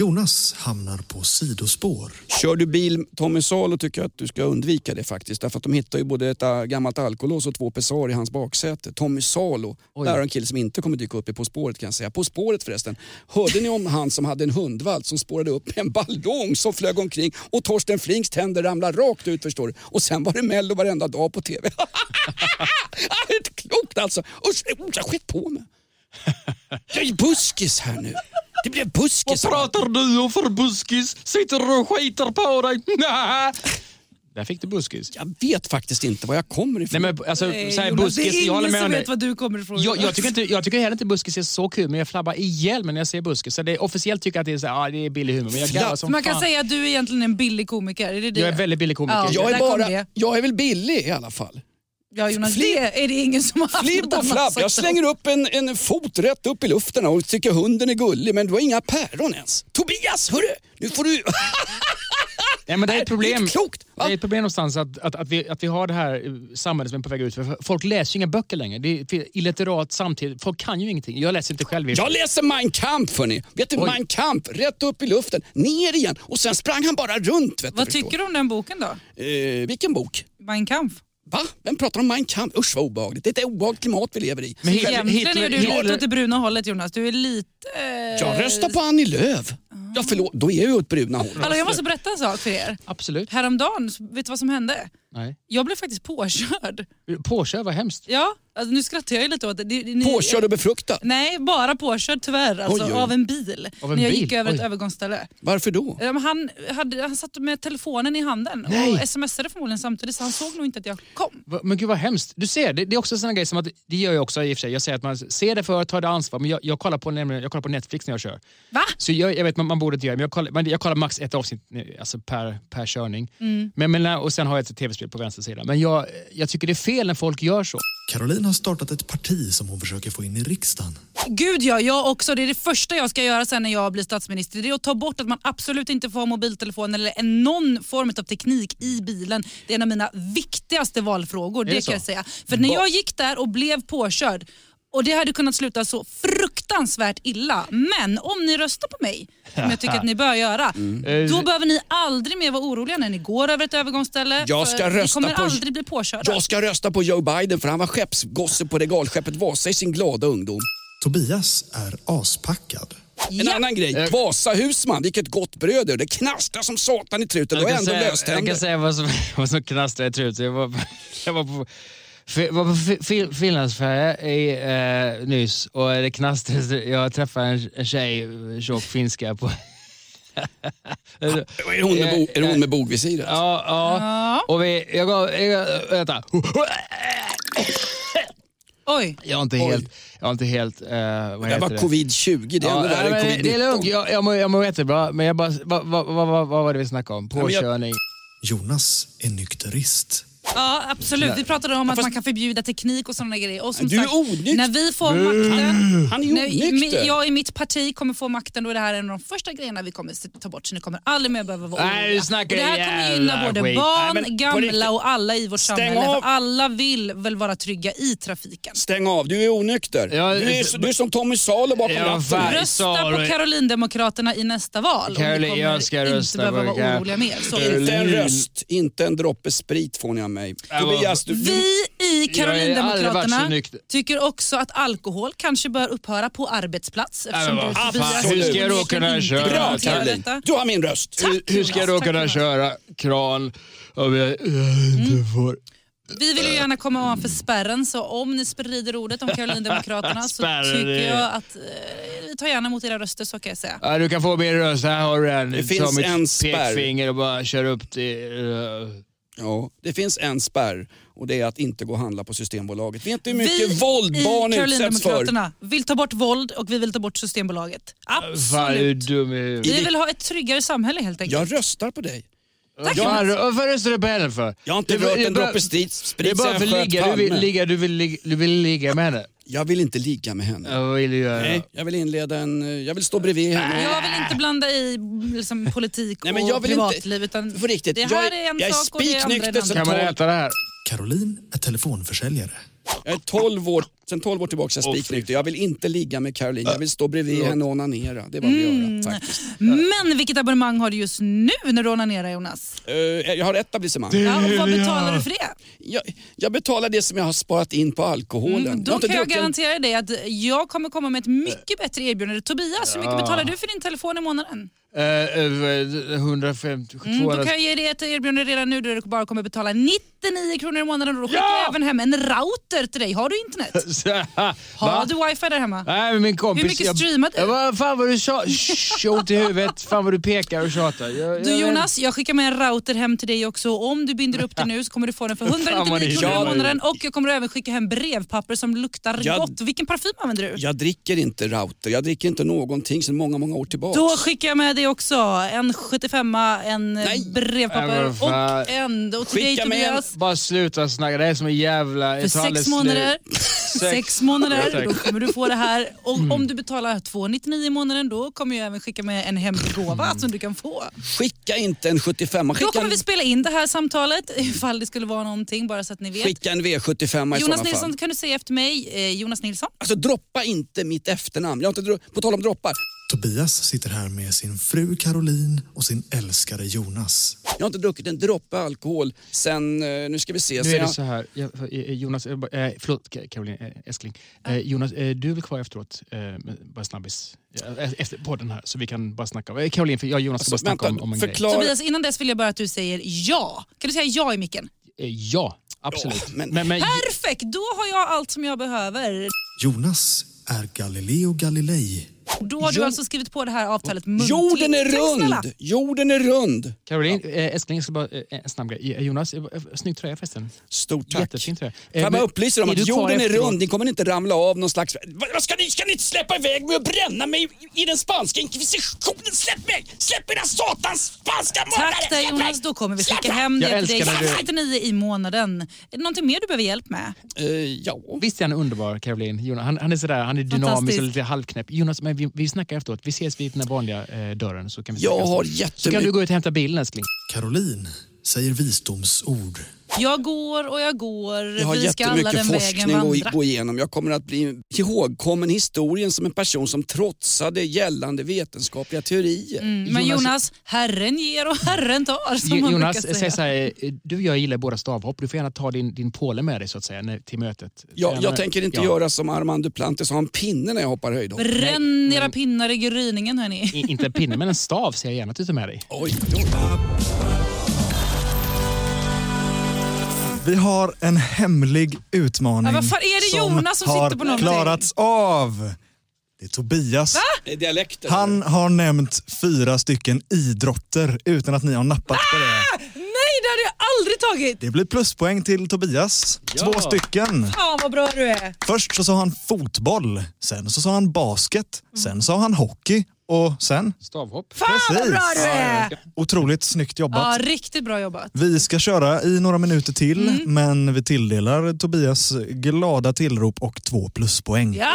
Speaker 4: Jonas hamnar på sidospår.
Speaker 5: Kör du bil Tommy Salo tycker jag att du ska undvika det faktiskt. Därför att de hittar ju både ett äh, gammalt alkolås och två pessar i hans baksäte. Tommy Salo, där är en kille som inte kommer dyka upp i På spåret kan jag säga. På spåret förresten, hörde ni om han som hade en hundvalp som spårade upp en ballong som flög omkring och Torsten Flinks tänder ramlade rakt ut förstår du. Och sen var det Mello varenda dag på [LAUGHS] TV. Ah, det är Inte klokt alltså! Usch, oh, jag skett på mig. Jag är buskis här nu. Det blev buskis. av allt.
Speaker 8: du om för buskis? Sitter och skiter på dig? Nä. Där fick du buskis.
Speaker 5: Jag vet faktiskt inte var jag kommer
Speaker 6: Nej,
Speaker 5: ifrån.
Speaker 6: men alltså, så här,
Speaker 7: Jonas, Eh, det
Speaker 6: buskis,
Speaker 7: är
Speaker 6: jag håller
Speaker 7: ingen
Speaker 6: med
Speaker 7: som
Speaker 6: om dig.
Speaker 7: vet var du kommer ifrån.
Speaker 6: Jag, jag,
Speaker 7: Jonas.
Speaker 6: tycker inte, jag tycker heller inte buskis är så kul, men jag flabbar ihjäl mig när jag ser buskis. Så det, är- officiellt tycker jag att det är, så här, ah, det är billig humor, men jag garvar som
Speaker 7: Man kan
Speaker 6: fan.
Speaker 7: säga att du är egentligen en billig komiker. Är det det?
Speaker 6: Jag är väldigt billig komiker.
Speaker 7: Ja,
Speaker 5: jag,
Speaker 7: där
Speaker 5: är
Speaker 7: kom
Speaker 5: bara,
Speaker 7: det.
Speaker 5: jag är väl billig i alla fall.
Speaker 7: Ja, Jonas,
Speaker 5: Flipp.
Speaker 7: det är det ingen som har haft något
Speaker 5: Flibb och
Speaker 7: annat
Speaker 5: flabb.
Speaker 7: sagt
Speaker 5: Jag slänger upp en, en fot rätt upp i luften och tycker hunden är gullig men du har inga päron ens. Tobias, hörru! Nu får du...
Speaker 6: Nej, men det är ett
Speaker 5: Det är
Speaker 6: problem.
Speaker 5: inte klokt.
Speaker 6: Det
Speaker 5: Va?
Speaker 6: är ett problem någonstans att, att, att, vi, att vi har det här eh, samhället som är på väg ut. För folk läser ju inga böcker längre. Det är för illiterat samtidigt. Folk kan ju ingenting. Jag läser inte själv.
Speaker 5: Jag läser Mein Kampf hörni. Vet du,
Speaker 6: Oj.
Speaker 5: Mein Kampf, rätt upp i luften, ner igen och sen sprang han bara runt. Vet
Speaker 7: Vad tycker du om den boken då?
Speaker 5: du? Eh, vilken bok?
Speaker 7: Mein Kampf?
Speaker 5: Va? Vem pratar om Mein Kampf? Usch vad obehagligt. Det är ett obehagligt klimat vi lever i.
Speaker 6: Men Hitler-
Speaker 7: Egentligen är du
Speaker 6: Hitler-
Speaker 7: lite åt det bruna hållet Jonas. Du är lite... eh,
Speaker 5: Jag röstar på Annie Lööf. Ja förlåt, då är jag ju åt bruna hållet.
Speaker 7: Hallå, jag måste berätta en sak för er.
Speaker 6: Absolut.
Speaker 7: Häromdagen, så- vet du vad som hände?
Speaker 6: Nej.
Speaker 7: Jag blev faktiskt påkörd.
Speaker 6: Påkör, vad hemskt.
Speaker 7: Ja, alltså, nu skrattar jag ju lite åt det. det. ni-
Speaker 5: Påkörd och befruktad.
Speaker 7: Nej, bara påkörd tyvärr. Alltså,
Speaker 5: Oj, oj.
Speaker 7: Av en bil.
Speaker 6: Av en
Speaker 7: när jag
Speaker 6: bil?
Speaker 7: gick över ett
Speaker 6: Oj.
Speaker 7: övergångsställe.
Speaker 5: Varför då?
Speaker 7: Ja, men Han, hade, han satt med telefonen i handen och smsade förmodligen samtidigt så han såg nog inte att jag kom.
Speaker 6: Va- Men gud vad hemskt. Du ser, det, det är också såna grejer som att, det gör jag också i och för sig. Jag säger att man ser det för, tar det ansvar. Men jag, jag, kollar, på, nämligen- jag kollar på Netflix när jag kör.
Speaker 7: Va?
Speaker 6: Så jag, jag vet, man, man borde inte göra det, men jag kollar, men jag kollar max ett avsnitt eh, alltså per, per körning. Men, men, när- och sen har jag ett tv-spel på vänster sida. Men jag, jag tycker det är fel när folk gör så.
Speaker 4: Caroline har startat ett parti som hon försöker få in i riksdagen.
Speaker 7: Gud ja, jag också. Det är det första jag ska göra sen när jag blir statsminister. Det är att ta bort att man absolut inte får ha mobiltelefon eller en- någon form av teknik i bilen. Det är en av mina viktigaste valfrågor, det,
Speaker 6: det
Speaker 7: kan
Speaker 6: så?
Speaker 7: jag säga. För när jag gick där och blev påkörd och det hade kunnat sluta så fruktansvärt illa. Men om ni röstar på mig, som jag tycker att ni
Speaker 5: [LAUGHS]
Speaker 7: bör göra,
Speaker 5: Mm. Eh,
Speaker 7: då behöver ni aldrig mer vara oroliga när ni går över ett övergångsställe.
Speaker 5: Jag
Speaker 7: för
Speaker 5: ska
Speaker 7: ni
Speaker 5: rösta
Speaker 7: kommer
Speaker 5: på-
Speaker 7: aldrig bli påkörda.
Speaker 5: Jag ska rösta på Joe Biden för han var skeppsgosse på regalskeppet Vasa i sin glada ungdom.
Speaker 4: Tobias är aspackad.
Speaker 5: En annan grej, Vasa Husman, vilket gott bröd det är. Det knastrar som satan i truten och
Speaker 6: Jag kan
Speaker 5: ändå
Speaker 6: säga- Jag kan
Speaker 5: löständer.
Speaker 6: säga vad som, [LAUGHS] vad som knastrar i truten. Jag var, [LAUGHS] på- jag var på, fi- var på fi, fi, Finlandsfärja i, eh, nyss och det knastrade. så Jag träffade en, en tjej, tjock finska. På, [LAUGHS]
Speaker 5: Är det hon med, bo, är det hon med bogvisiret?
Speaker 6: Eh, ja, ja. Och vi, jag gav... Jag, vänta. [LAUGHS]
Speaker 7: Oj,
Speaker 6: Jag är inte helt... Jag är inte helt eh, vad
Speaker 5: Det
Speaker 6: heter
Speaker 5: var
Speaker 6: det?
Speaker 5: covid-20, det är
Speaker 6: Ja,
Speaker 5: ännu värre än
Speaker 6: nej, men det- Det är lugnt,
Speaker 5: covid-19.
Speaker 6: jag, jag, mår, jag mår jättebra. Men jag bara, vad, vad, vad, vad, vad var det vi snackade om?
Speaker 5: men jag-
Speaker 6: Påkörning.
Speaker 4: Jonas är nykterist.
Speaker 7: Ja, absolut. Vi pratade om att
Speaker 5: fast-
Speaker 7: man kan förbjuda teknik och sådana grejer. Och som
Speaker 5: Du är
Speaker 7: sagt,
Speaker 5: onykter.
Speaker 7: när vi får makten,
Speaker 5: [CLEARS THROAT] Han är ju
Speaker 7: när mi-
Speaker 5: onykter.
Speaker 7: jag i mitt parti kommer få makten, då är det här en av de första grejerna vi kommer se- ta bort. Så ni kommer aldrig mer behöva vara
Speaker 6: Nej, du
Speaker 7: oroliga. Och
Speaker 6: snackar
Speaker 7: Det här kommer gynna
Speaker 6: jävla
Speaker 7: både
Speaker 6: skit.
Speaker 5: Nej,
Speaker 7: barn,
Speaker 5: men på riktigt.
Speaker 7: gamla och alla i vårt
Speaker 5: Stäng
Speaker 7: samhälle.
Speaker 5: av.
Speaker 7: För Alla vill väl vara trygga i trafiken.
Speaker 5: Stäng av, du är onykter.
Speaker 6: Ja,
Speaker 5: du, är, du är som Tommy Salo bakom
Speaker 6: Ja,
Speaker 5: ratten.
Speaker 6: fan.
Speaker 7: Rösta på
Speaker 6: sorry.
Speaker 7: Karolindemokraterna i nästa val. och
Speaker 6: Karoli-
Speaker 7: ni kommer
Speaker 6: jag ska
Speaker 7: inte
Speaker 6: rösta
Speaker 7: behöva
Speaker 6: på
Speaker 7: vara
Speaker 6: Kar-
Speaker 7: oroliga mer. Så är det.
Speaker 5: Inte en röst, inte en droppe sprit får ni av mig.
Speaker 6: vad-
Speaker 5: Tobias, du, du,
Speaker 7: Vi i
Speaker 6: aldrig varit så
Speaker 7: Karolindemokraterna
Speaker 6: nykter.
Speaker 7: tycker också att alkohol kanske bör upphöra på arbetsplats. Eftersom
Speaker 6: Nej, men
Speaker 7: du,
Speaker 6: vad
Speaker 7: Tobias,
Speaker 5: fan, hur ska
Speaker 6: jag då
Speaker 7: egentligen
Speaker 6: kunna
Speaker 7: inte
Speaker 6: köra?
Speaker 5: bra
Speaker 7: kan
Speaker 6: Tack.
Speaker 7: hantera
Speaker 5: Caroline.
Speaker 7: detta.
Speaker 5: Du har min röst.
Speaker 6: Hur, hur ska jag då
Speaker 7: Jonas.
Speaker 6: kunna
Speaker 7: Tack, Jonas.
Speaker 6: köra kran om jag inte får...
Speaker 7: Vi vill ju gärna komma ovanför spärren så om ni
Speaker 6: [LAUGHS]
Speaker 7: sprider ordet om Karolindemokraterna så
Speaker 6: Spärren,
Speaker 7: tycker
Speaker 6: det-
Speaker 7: jag att eh, vi tar gärna emot era röster så kan jag säga.
Speaker 6: Ja, du kan få min röst, här har du den.
Speaker 5: Det finns
Speaker 6: Ta mitt
Speaker 5: en spärr.
Speaker 6: pekfinger och bara kör upp till... eh,
Speaker 5: Ja, det finns en spärr och det är att inte gå och handla på Systembolaget. Vet du hur mycket
Speaker 7: vi
Speaker 5: våld barn
Speaker 7: i
Speaker 5: utsätts för?
Speaker 7: Karolindemokraterna vill ta bort våld och vi vill ta bort Systembolaget.
Speaker 6: Fan, du är
Speaker 7: Absolut.
Speaker 6: dum i huvudet.
Speaker 7: Vi vill ha ett tryggare samhälle helt enkelt.
Speaker 5: Jag röstar på dig.
Speaker 6: Jag har- Varför röstar du på henne för?
Speaker 5: Jag har inte
Speaker 6: Det är bara-
Speaker 5: rört
Speaker 6: det är
Speaker 5: en
Speaker 6: bara-
Speaker 5: droppe sprit,
Speaker 6: Det är
Speaker 5: sprit
Speaker 6: bara
Speaker 5: sen
Speaker 6: för
Speaker 5: jag
Speaker 6: ligga. Du
Speaker 5: sköt
Speaker 6: vill
Speaker 5: Palme.
Speaker 6: ligga, du vill ligga, du vill ligga med henne.
Speaker 5: Jag vill inte ligga med henne.
Speaker 6: Vad vill du göra?
Speaker 5: Nej, jag vill inleda en... eh, Jag vill stå bredvid henne.
Speaker 7: Jag vill inte blanda i liksom, politik
Speaker 5: Nej, men
Speaker 7: och
Speaker 5: jag vill inte-
Speaker 7: privatliv. Utan
Speaker 5: På riktigt,
Speaker 7: Det här
Speaker 5: jag-
Speaker 7: är en
Speaker 5: jag är
Speaker 7: sak och det andra är en
Speaker 5: spiknykter
Speaker 7: annan.
Speaker 5: som
Speaker 6: Kan man äta det här?
Speaker 4: Caroline är telefonförsäljare.
Speaker 5: Jag är 12 år, sen 12 år tillbaka är jag spiknykter. Jag vill inte ligga med Caroline. Jag vill stå bredvid henne och onanera. Det var vad jag vill
Speaker 7: Mm.
Speaker 5: göra faktiskt.
Speaker 7: Men vilket abonnemang har du just nu när du onanerar Jonas?
Speaker 5: Eh, jag har ett etablissemang.
Speaker 7: Ja, och vad betalar du för det?
Speaker 5: Jag, jag betalar det som jag har sparat in på alkoholen.
Speaker 7: Mm,
Speaker 5: har
Speaker 7: då
Speaker 5: inte
Speaker 7: kan jag
Speaker 5: druckit en-
Speaker 7: garantera dig att jag kommer komma med ett
Speaker 5: Eh.
Speaker 7: mycket bättre erbjudande. Tobias, hur mycket betalar du för din telefon i månaden?
Speaker 6: Eh, eh, 150,
Speaker 7: Mm, då
Speaker 6: 200...
Speaker 7: kan jag ge dig ett erbjudande redan nu där du bara kommer betala 99 kronor i månaden och då skickar jag även hem en router till dig. Har du internet?
Speaker 6: [LAUGHS]
Speaker 7: Har
Speaker 6: Va?
Speaker 7: du wifi där hemma?
Speaker 6: Nej, men min kompis...
Speaker 7: Hur mycket streamar du?
Speaker 6: Jag, vad fan vad du tjatar. Tjot i huvudet. Fan vad du pekar och tjatar. Jag,
Speaker 7: Du
Speaker 6: jag,
Speaker 7: Jonas, jag skickar med en router hem till dig också. Om du binder upp den nu så kommer du
Speaker 5: [LAUGHS]
Speaker 7: få den för 199
Speaker 6: Fan,
Speaker 7: kronor
Speaker 6: vad
Speaker 7: i
Speaker 6: ni
Speaker 7: månaden och jag kommer även skicka hem brevpapper som luktar
Speaker 5: Jag-
Speaker 7: gott. Vilken parfym använder du?
Speaker 5: Jag dricker inte router. Jag dricker inte någonting sedan många, många år tillbaka.
Speaker 7: Då skickar jag med dig också en 75 en
Speaker 5: Nej.
Speaker 7: brevpapper
Speaker 6: Nej, vad fan.
Speaker 7: och en och till
Speaker 5: Skicka
Speaker 7: dig
Speaker 5: med en-
Speaker 7: Tobias.
Speaker 6: Bara sluta snacka. Det här är som en jävla...
Speaker 7: För
Speaker 6: jag tar aldrig
Speaker 7: sex
Speaker 6: slut.
Speaker 7: månader, [LAUGHS] sex månader,
Speaker 6: tack. Mm.
Speaker 7: då kommer du få det här. Och om du betalar 299 i månaden då kommer jag även skicka med en hemlig
Speaker 6: Mm.
Speaker 7: gåva som du kan få.
Speaker 5: Skicka inte en 75
Speaker 7: Då
Speaker 5: skicka,
Speaker 7: kommer
Speaker 5: en,
Speaker 7: vi spela in det här samtalet ifall det skulle vara någonting bara så att ni vet.
Speaker 5: skicka en V75 i
Speaker 7: Jonas
Speaker 5: sådana
Speaker 7: Nilsson
Speaker 5: fall.
Speaker 7: kan du säga efter mig, eh, Jonas Nilsson.
Speaker 5: Alltså droppa inte mitt efternamn. Jag har inte dro- på tal om droppar.
Speaker 4: Tobias sitter här med sin fru Caroline och sin älskare Jonas.
Speaker 5: Jag har inte druckit en droppe alkohol sen, eh, nu ska vi se.
Speaker 6: Nu
Speaker 5: sen
Speaker 6: är det
Speaker 5: jag-
Speaker 6: så här, jag, eh, Jonas, eh, bara- eh, förlåt Ka- Caroline, eh, älskling. Eh, Jonas, eh, du är väl kvar efteråt? Eh, men bara snabbis. Eh, Efter podden här, så vi kan bara snacka. om- Eh, Caroline, för jag och Jonas ska
Speaker 5: Alltså,
Speaker 6: bara snacka om, om en
Speaker 5: förklara.
Speaker 7: Tobias, innan dess vill jag bara att du säger ja. Kan du säga ja i micken?
Speaker 6: grej. Eh, ja, absolut.
Speaker 5: Ja, men-
Speaker 6: men, men,
Speaker 7: Perfekt, då har jag allt som jag behöver.
Speaker 4: Jonas är Galileo Galilei.
Speaker 7: Då har du
Speaker 5: Jo-
Speaker 7: alltså skrivit på det här avtalet muntligt.
Speaker 5: Jorden är
Speaker 7: Tack snälla.
Speaker 5: rund! Jorden är rund!
Speaker 6: Caroline, eh, älskling, jag ska bara, eh, en snabb grej. Eh, Jonas, eh, snygg tröja förresten.
Speaker 5: Stort tack.
Speaker 6: Jättefin tröja. Eh,
Speaker 5: Kan jag bara
Speaker 6: men-
Speaker 5: upplysa om
Speaker 6: är
Speaker 5: att
Speaker 6: du kvar
Speaker 5: jorden är
Speaker 6: efteråt?
Speaker 5: rund, ni kommer inte ramla av någon slags... Vad vad ska ni, ska ni inte släppa iväg mig och bränna mig i den spanska inkvisitionen? Släpp mig! Släpp mina satans spanska mördare!
Speaker 7: Tack dig
Speaker 5: Släpp mig!
Speaker 7: Jonas, då kommer vi
Speaker 5: Släpp
Speaker 7: skicka
Speaker 5: mig!
Speaker 7: hem
Speaker 6: Jag
Speaker 7: det till dig.
Speaker 6: älskar när du-
Speaker 7: 99 i månaden. Är det någonting mer du behöver hjälp med?
Speaker 5: Eh, ja.
Speaker 6: Visst är han underbar, Caroline? Jonas, han, han är sådär, han är dynamisk och
Speaker 7: Fantastisk.
Speaker 6: lite halvknäpp. Jonas, men vi, vi snackar efteråt. Vi ses vid den där vanliga eh, dörren. Så kan vi
Speaker 5: Jag
Speaker 6: snacka.
Speaker 5: har
Speaker 6: Så kan du
Speaker 5: jättemycket...
Speaker 6: gå ut och hämta bilen, älskling.
Speaker 4: Caroline säger visdomsord.
Speaker 7: Jag går och jag går.
Speaker 5: Jag har
Speaker 7: vi ska alla
Speaker 5: jättemycket
Speaker 7: den
Speaker 5: forskning
Speaker 7: vägen vandra.
Speaker 5: att gå igenom. Jag kommer att bli ihågkommen i historien som en person som trotsade gällande vetenskapliga teorier.
Speaker 7: Mm, men
Speaker 6: Jonas-
Speaker 7: Jonas, herren ger och herren tar som man
Speaker 6: Jonas,
Speaker 7: brukar
Speaker 6: säg så här, eh, du och jag gillar båda stavhopp. Du får gärna ta din, din påle med dig så att säga, när, till mötet.
Speaker 5: Ja,
Speaker 6: Gärna-
Speaker 5: jag tänker inte göra som Armand Duplantis och ha en pinne när jag hoppar höjdhopp.
Speaker 7: Bränn era pinnar i gryningen hörni.
Speaker 6: i- Inte en pinne, men en stav ser jag gärna att du tar med dig.
Speaker 5: Oj, då.
Speaker 10: Vi har en hemlig utmaning
Speaker 7: Ja, vad fan är det Jonas som sitter
Speaker 10: har
Speaker 7: på någonting?
Speaker 10: klarats av. Det är Tobias.
Speaker 5: Det är dialekter.
Speaker 10: Han har nämnt fyra stycken idrotter utan att ni har nappat på det.
Speaker 7: Nej, det hade jag aldrig tagit!
Speaker 10: Det blir pluspoäng till Tobias. Två stycken.
Speaker 7: Fan vad bra du är.
Speaker 10: Först så sa han fotboll, sen så sa han basket, sen sa han hockey och sen...
Speaker 6: Stavhopp.
Speaker 7: Fan Mm. Ah, vad bra du är!
Speaker 10: Otroligt snyggt
Speaker 7: Ja,
Speaker 10: jobbat.
Speaker 7: riktigt bra jobbat.
Speaker 10: Vi ska köra i några minuter till,
Speaker 7: Mm.
Speaker 10: men vi tilldelar Tobias glada tillrop och två pluspoäng.
Speaker 7: Ja!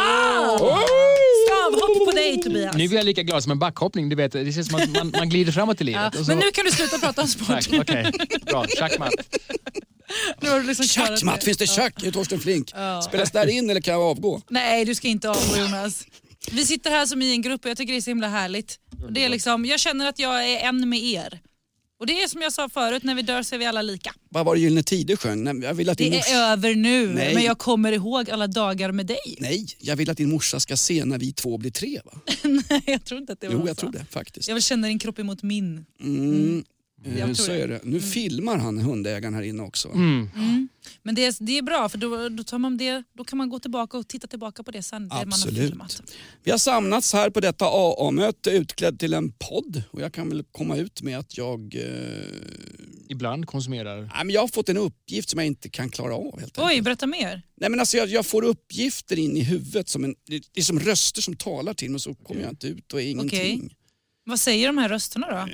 Speaker 7: Stavhopp på dig Tobias.
Speaker 6: Nu är jag lika glad som en backhoppning. Du vet, det känns som att man, man glider framåt i
Speaker 7: Ja,
Speaker 6: livet. och så-
Speaker 7: men nu kan du sluta prata om sport.
Speaker 6: Tack, okej. Bra, schackmatt.
Speaker 7: [LAUGHS] Nu har du liksom klarat
Speaker 5: Schackmatt, finns det schack? Är Torsten Flink? Spelas där in eller kan jag avgå?
Speaker 7: Nej, du ska inte avgå Jonas. Vi sitter här som i en grupp och jag tycker det är så himla härligt. Och det är liksom, jag känner att jag är en med er. Och det är som jag sa förut, när vi dör så är vi alla lika.
Speaker 5: Vad var det Gyllene Tider sjöng? Nej, Jag vill att din
Speaker 7: Det
Speaker 5: morsa...
Speaker 7: är över nu,
Speaker 5: Nej.
Speaker 7: men jag kommer ihåg alla dagar med dig. [LAUGHS]
Speaker 5: Nej, jag vill att din morsa ska se när vi två blir tre va?
Speaker 7: Nej, jag tror inte att det var
Speaker 5: Jo,
Speaker 7: han
Speaker 5: jag
Speaker 7: sa.
Speaker 5: tror det faktiskt.
Speaker 7: Jag vill känna din kropp emot min.
Speaker 5: Mm. eh,
Speaker 7: Jag tror
Speaker 5: Så
Speaker 7: det. Mm.
Speaker 5: är det. Nu filmar han hundägaren här inne också.
Speaker 7: Men det är, det är bra, för då, då, tar man det, då kan man gå tillbaka och titta tillbaka på det sen. det man har
Speaker 5: Absolut.
Speaker 7: filmat.
Speaker 5: Vi har samlats här på detta AA-möte utklädd till en podd och jag kan väl komma ut med att jag... Eh...
Speaker 6: Ibland konsumerar...
Speaker 5: Nej, men jag har fått en uppgift som jag inte kan klara av helt
Speaker 7: Oj, berätta mer.
Speaker 5: Nej, men alltså jag, jag får uppgifter in i huvudet, som en, det det är som röster som talar till mig så kommer jag inte ut och är ingenting.
Speaker 7: Vad säger de här rösterna då?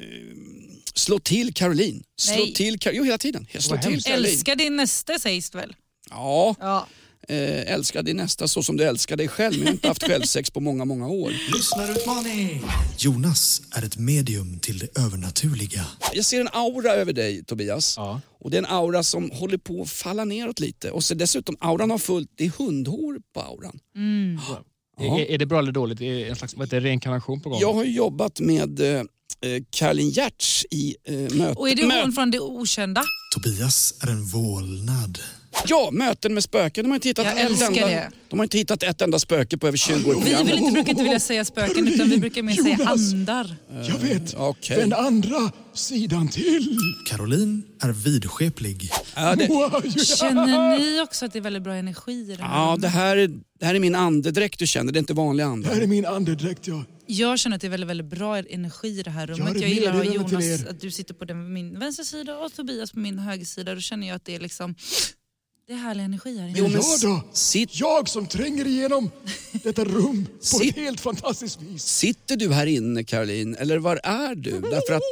Speaker 5: Slå till Caroline. Slå
Speaker 7: Nej.
Speaker 5: till Caroline. Jo, hela tiden. Jag slår
Speaker 6: Vad
Speaker 5: till
Speaker 6: hemskt.
Speaker 5: Caroline.
Speaker 7: Älska din nästa sägs det väl?
Speaker 5: Ja,
Speaker 7: Ja.
Speaker 5: eh, älska din nästa så som du älskar dig själv. Men jag har inte haft självsex på många, många år.
Speaker 4: Lyssnarutmaning! Jonas är ett medium till det övernaturliga.
Speaker 5: Jag ser en aura över dig Tobias. Och det är en aura som håller på att falla neråt lite. Och så dessutom, auran har fullt, det är hundhår på auran.
Speaker 6: Mm.
Speaker 5: Ja.
Speaker 6: Är, är det bra eller dåligt? Är en slags vad heter det, reinkarnation på gång?
Speaker 5: Jag har ju jobbat med eh, eh, Caroline Giertz i eh, möten.
Speaker 7: Och är det hon från det okända?
Speaker 4: Tobias är en vålnad.
Speaker 5: Ja, möten med spöken. De har inte hittat,
Speaker 7: Jag
Speaker 5: ett,
Speaker 7: älskar
Speaker 5: enda,
Speaker 7: det.
Speaker 5: de har inte hittat ett enda spöke på över 20 år. i
Speaker 7: Vi
Speaker 5: programmet.
Speaker 7: vill inte, brukar inte vilja säga spöken utan vi brukar mer säga
Speaker 11: Jonas.
Speaker 7: andar.
Speaker 11: Jag vet.
Speaker 5: Eh, Okej.
Speaker 11: Den andra sidan till.
Speaker 4: Caroline är vidskeplig.
Speaker 7: Känner ni också att det är väldigt bra energi i den här?
Speaker 5: Ja, det här, är, det här är min andedräkt du känner. Det är inte vanlig ande. Det här är min andedräkt, ja.
Speaker 7: Jag känner att det är väldigt, väldigt bra energi i det här rummet.
Speaker 5: Jag har
Speaker 7: Jag,
Speaker 5: ett
Speaker 7: gillar att ha
Speaker 5: meddelande till
Speaker 7: Jonas,
Speaker 5: er.
Speaker 7: att du sitter på den, min vänstra sida och Tobias på min höger sida. Då känner jag att det är liksom... Det är härlig energi här inne.
Speaker 11: Jo, men jag då? Jag som tränger igenom detta rum på ett
Speaker 5: Sitt.
Speaker 11: helt fantastiskt vis.
Speaker 5: Sitter du här inne, Caroline? Eller var är
Speaker 7: [LAUGHS]
Speaker 5: du? Därför att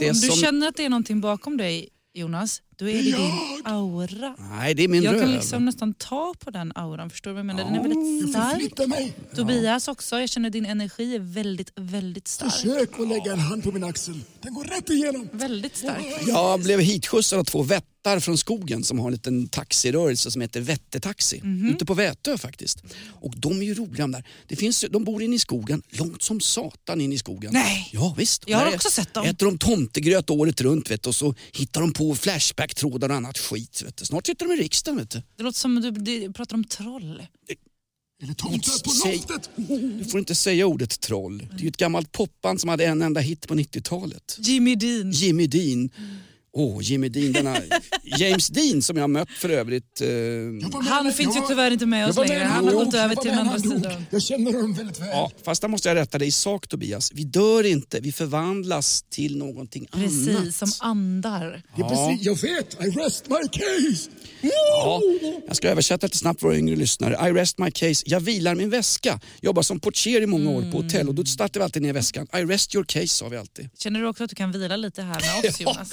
Speaker 5: det
Speaker 7: Om du
Speaker 5: som...
Speaker 7: känner att det är någonting bakom dig, Jonas, då är det din aura.
Speaker 5: Nej, det är min
Speaker 7: jag
Speaker 5: röv.
Speaker 7: kan liksom nästan ta på den auran, förstår du vad jag menar? Den är väldigt stark. Tobias också, jag känner din energi är väldigt, väldigt stark.
Speaker 11: Försök att lägga en hand på min axel. Den går rätt igenom.
Speaker 7: Väldigt stark.
Speaker 5: Jag blev hitskjutsad av två vättar från skogen som har en liten taxirörelse som heter Vättetaxi.
Speaker 7: Mhm.
Speaker 5: Ute på Vätö faktiskt. Och de är ju roliga de där. Det finns, ju- de bor inne i skogen, långt som satan in i skogen.
Speaker 7: Nej.
Speaker 5: Ja, visst.
Speaker 7: Jag har
Speaker 5: Där
Speaker 7: också sett dem.
Speaker 5: Äter de tomtegröt året runt vet du, och så hittar de på flashbacktrådar och annat skit. Vet du. Snart sitter de i riksdagen. Vet du.
Speaker 7: Det låter som att du, du pratar om troll.
Speaker 5: Tomtar på loftet! Du får inte säga ordet troll. Det är ju ett gammalt popband som hade en enda hit på 90-talet.
Speaker 7: Jimmy Dean.
Speaker 5: Jimmy Dean.
Speaker 7: Mm.
Speaker 5: Åh, Jimmy Dean. Denna James Dean som jag har mött för övrigt. Eh,
Speaker 7: Han finns ju tyvärr inte med
Speaker 11: Jag
Speaker 7: oss
Speaker 11: var med
Speaker 7: längre.
Speaker 11: när
Speaker 7: Han har
Speaker 11: dog.
Speaker 7: gått
Speaker 11: Jag
Speaker 7: över
Speaker 11: var
Speaker 7: till
Speaker 11: med
Speaker 7: den
Speaker 11: när
Speaker 7: andra
Speaker 11: han dog.
Speaker 7: sidan.
Speaker 11: Jag känner honom väldigt väl.
Speaker 5: ja, fast där måste jag rätta dig i sak Tobias. Vi dör inte, vi förvandlas till någonting annat.
Speaker 7: Precis, som andar.
Speaker 5: Det är precis-
Speaker 11: Jag vet, I rest my case.
Speaker 5: Ja, jag ska översätta lite snabbt för våra yngre lyssnare. I rest my case. Jag vilar min väska. Jobbar som portier i många år på hotell och då startar vi alltid ner väskan. I rest your case sa vi alltid.
Speaker 7: Känner du också att du kan vila lite här med oss Jonas?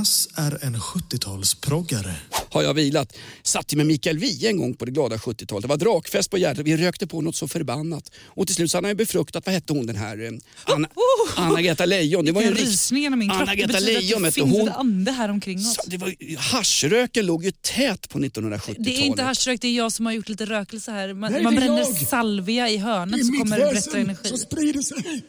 Speaker 4: Jonas är en 70-talsproggare.
Speaker 5: Har jag vilat. Satt ju med Mikael Wiehe en gång på det glada 70-talet. Det var drakfest på Gärdet. Vi rökte på något så förbannat. Och till slut så hade han ju befruktat, vad hette hon den här, eh,
Speaker 7: [LAUGHS]
Speaker 5: Anna, Anna-Greta Lejon. Det var ju en
Speaker 7: Oh! Vilken
Speaker 5: riks-
Speaker 7: rysning genom min kropp. Det
Speaker 5: Anna-Greta
Speaker 7: betyder
Speaker 5: Leijon,
Speaker 7: att
Speaker 5: vet
Speaker 7: det
Speaker 5: du,
Speaker 7: finns
Speaker 5: hon-
Speaker 7: ett ande här omkring oss.
Speaker 5: Det var, ju- haschröken låg ju tät på 1970-talet.
Speaker 7: Det är inte haschrök, det är jag som har gjort lite rökelse här. Man,
Speaker 5: Nej,
Speaker 7: man
Speaker 5: det är
Speaker 7: bränner
Speaker 5: jag.
Speaker 7: salvia i hörnet så kommer det bättre energi.
Speaker 11: sprider sig.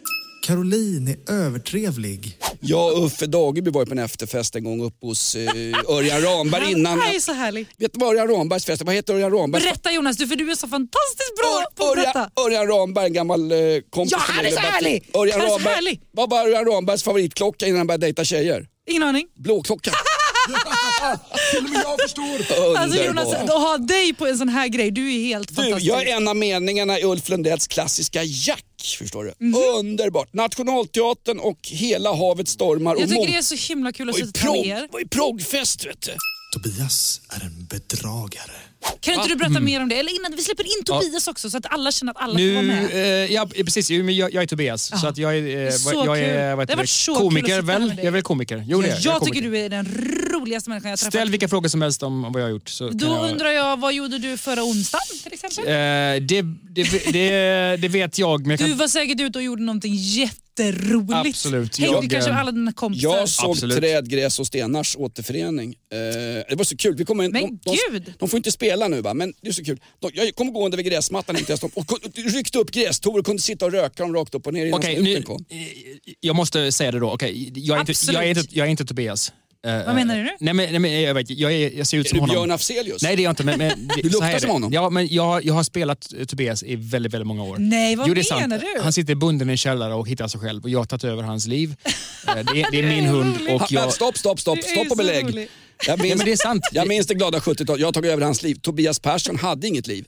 Speaker 4: Caroline är övertrevlig.
Speaker 5: Jag och Uffe Dageby var ju på en efterfest en gång upp hos eh, Örjan Ramberg innan.
Speaker 7: Han är så härlig.
Speaker 5: Vet du vad Örjan Rambergs fest Vad heter Örjan Ramberg?
Speaker 7: Berätta Jonas, du, för du är så fantastiskt bra på att
Speaker 5: Örjan,
Speaker 7: berätta.
Speaker 5: Örjan Ramberg, en gammal eh, kompis
Speaker 7: Ja,
Speaker 5: till
Speaker 7: han
Speaker 5: mig,
Speaker 7: är så
Speaker 5: Lebatte.
Speaker 7: härlig!
Speaker 5: Örjan
Speaker 7: Han är så
Speaker 5: Ramberg,
Speaker 7: härlig!
Speaker 5: Vad var Örjan Rambergs favoritklocka innan han började dejta tjejer?
Speaker 7: Ingen aning. [LAUGHS]
Speaker 5: Blåklocka.
Speaker 11: Till och med jag förstår.
Speaker 7: Alltså Jonas,
Speaker 5: Underbar.
Speaker 7: att ha dig på en sån här grej, du är helt
Speaker 5: Du,
Speaker 7: fantastisk.
Speaker 5: jag är en av meningarna i Ulf Lundells klassiska Jack. Förstår du?
Speaker 7: Mhm.
Speaker 5: Underbart! Nationalteatern och hela havet stormar. och
Speaker 7: Jag tycker
Speaker 5: mång-
Speaker 7: det är så himla kul att
Speaker 5: Vad är
Speaker 7: sitta här med
Speaker 5: prog-
Speaker 7: er.
Speaker 5: Vad är proggfest vet du?
Speaker 4: Tobias är en bedragare.
Speaker 7: Kan inte du berätta mer om det? Eller innan, vi släpper in
Speaker 6: Ja.
Speaker 7: Tobias också så att alla känner att alla får vara
Speaker 6: Nu,
Speaker 7: med.
Speaker 6: eh, ja precis, Jo, men jag, jag är Tobias.
Speaker 7: Ja.
Speaker 6: Så att jag är,
Speaker 7: Det är
Speaker 6: eh,
Speaker 7: så
Speaker 6: vad- jag
Speaker 7: kul.
Speaker 6: är
Speaker 7: Det
Speaker 6: vad heter
Speaker 7: har varit så kul att
Speaker 6: komiker
Speaker 7: sitta
Speaker 6: väl?
Speaker 7: med dig.
Speaker 6: Jag är väl komiker. Jo, det är,
Speaker 7: jag
Speaker 6: är
Speaker 7: tycker
Speaker 6: komiker.
Speaker 7: du är den roligaste människan jag träffat.
Speaker 6: Ställ vilka frågor som helst om, om vad jag har gjort. Så kan
Speaker 7: Då
Speaker 6: jag...
Speaker 7: undrar jag, vad gjorde du förra onsdagen till exempel?
Speaker 6: Eh, det, det, det, det vet jag, men jag kan...
Speaker 7: Du var säkert ute och gjorde någonting jätteroligt.
Speaker 5: Absolut,
Speaker 7: Hängde
Speaker 5: jag,
Speaker 7: kanske
Speaker 5: eh,
Speaker 7: med alla dina kompisar.
Speaker 5: Jag såg Träd, gräs och stenars återförening. Eh, det var så kul. Vi kommer,
Speaker 7: Men
Speaker 5: de, de,
Speaker 7: gud!
Speaker 5: de får inte spela nu va, men det är så kul. De, jag kom gående vid gräsmattan inte ens, de- och kun- ryckte upp grästor och kunde sitta och röka dem rakt upp och ner innan
Speaker 6: Okej,
Speaker 5: snuten
Speaker 6: nu- eh,
Speaker 5: kom.
Speaker 6: Jag måste säga det då. Okej, jag, är inte, jag, är inte, jag är inte Tobias. Eh,
Speaker 5: Vad menar du
Speaker 6: eh,
Speaker 5: nu?
Speaker 6: Nej, men, nej, men jag, vet, jag, är, jag ser ut
Speaker 5: Är
Speaker 6: som
Speaker 5: du
Speaker 6: honom.
Speaker 5: Björn Afzelius?
Speaker 6: Nej, det är jag inte. Men, men,
Speaker 5: [LAUGHS] Du
Speaker 6: så
Speaker 5: luktar
Speaker 6: här är
Speaker 5: som
Speaker 6: det.
Speaker 5: honom.
Speaker 6: Ja, men jag, jag har spelat eh, Tobias i väldigt, väldigt många år.
Speaker 7: Nej, vad
Speaker 6: Jo, det är
Speaker 7: menar
Speaker 6: sant.
Speaker 7: du?
Speaker 6: Han sitter bunden i en källare och hittar sig själv och jag har tagit över hans liv. Eh, det, är, det är min hund och
Speaker 5: Ha-
Speaker 6: jag...
Speaker 5: Stopp, stopp, stopp,
Speaker 6: Det är
Speaker 5: stopp och
Speaker 6: så
Speaker 5: belägg.
Speaker 6: roligt.
Speaker 5: Jag minns,
Speaker 6: Nej, men det är sant.
Speaker 5: jag minns det glada 70-talet, jag har tagit över hans liv. Tobias Persson hade inget liv.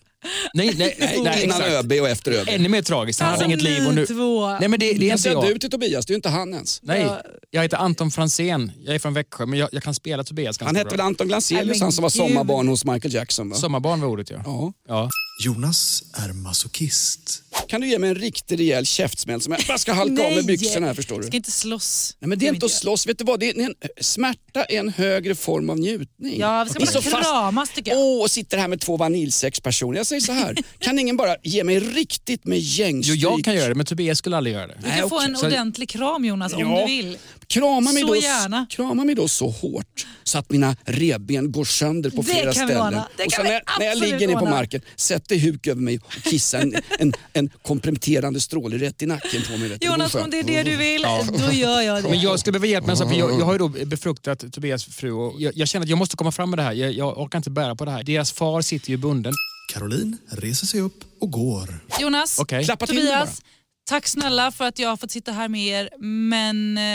Speaker 6: Nej, nej, nej, nej,
Speaker 5: Innan
Speaker 6: exakt.
Speaker 5: ÖB och efter ÖB.
Speaker 6: Ännu mer tragiskt. Han hade
Speaker 5: Alltså,
Speaker 6: inget liv och
Speaker 5: ni
Speaker 6: nu...
Speaker 5: två.
Speaker 6: Nej, men det, det är
Speaker 5: Kan
Speaker 6: inte
Speaker 5: säga
Speaker 6: jag.
Speaker 5: du till Tobias, det är ju inte han ens.
Speaker 6: Nej, jag heter Anton Fransén. Jag är från Växjö, men jag, jag kan spela Tobias ganska
Speaker 5: Han hette
Speaker 6: bra.
Speaker 5: väl Anton Glanzelius, han som var sommarbarn hos Michael Jackson va?
Speaker 6: Sommarbarn var ordet ja.
Speaker 5: ja.
Speaker 6: ja.
Speaker 4: Jonas är masochist.
Speaker 5: Kan du ge mig en riktig rejäl käftsmäll som jag bara ska halka av med byxorna här förstår du.
Speaker 7: Ska inte slåss.
Speaker 5: Nej, men det är inte att slåss. Vet du vad? Det är en, eh, smärta är en högre form av njutning.
Speaker 7: Ja, vi ska
Speaker 5: Vi
Speaker 7: bara
Speaker 5: är så fast-
Speaker 7: kramas tycker jag.
Speaker 5: Åh, och sitter här med två vaniljsexpersoner. Jag säger så
Speaker 7: [LAUGHS]
Speaker 5: här, kan ingen bara ge mig riktigt med
Speaker 6: Jo,
Speaker 5: gängstryk?
Speaker 6: jag kan göra det, men Tobias skulle aldrig göra det.
Speaker 7: Du kan få en ordentlig kram Jonas om
Speaker 5: Ja.
Speaker 7: du vill.
Speaker 5: Krama mig,
Speaker 7: Så
Speaker 5: då,
Speaker 7: gärna.
Speaker 5: krama mig då så hårt så att mina revben går sönder på
Speaker 7: Det
Speaker 5: flera
Speaker 7: kan vi
Speaker 5: ställen.
Speaker 7: ordna. Det
Speaker 5: och
Speaker 7: kan
Speaker 5: sen
Speaker 7: vi
Speaker 5: när, när jag
Speaker 7: absolut
Speaker 5: ligger ner på
Speaker 7: ordna.
Speaker 5: marken, sätt dig huk över mig och kissa en, en, en komprometterande stråle rätt i nacken på mig. vet du.
Speaker 7: Jonas,
Speaker 5: vore skönt.
Speaker 7: om det är det du vill,
Speaker 5: Ja.
Speaker 7: då gör jag det.
Speaker 6: Men jag skulle behöva hjälp med en sak, för jag, jag har ju då befruktat Tobias fru och jag, jag känner att jag måste komma fram med det här. Jag, jag orkar inte bära på det här. Deras far sitter ju bunden.
Speaker 4: Caroline reser sig upp och går.
Speaker 7: Jonas,
Speaker 6: Okej. Klappa till
Speaker 7: Tobias, tack snälla för att jag har fått sitta här med er, men eh, tiden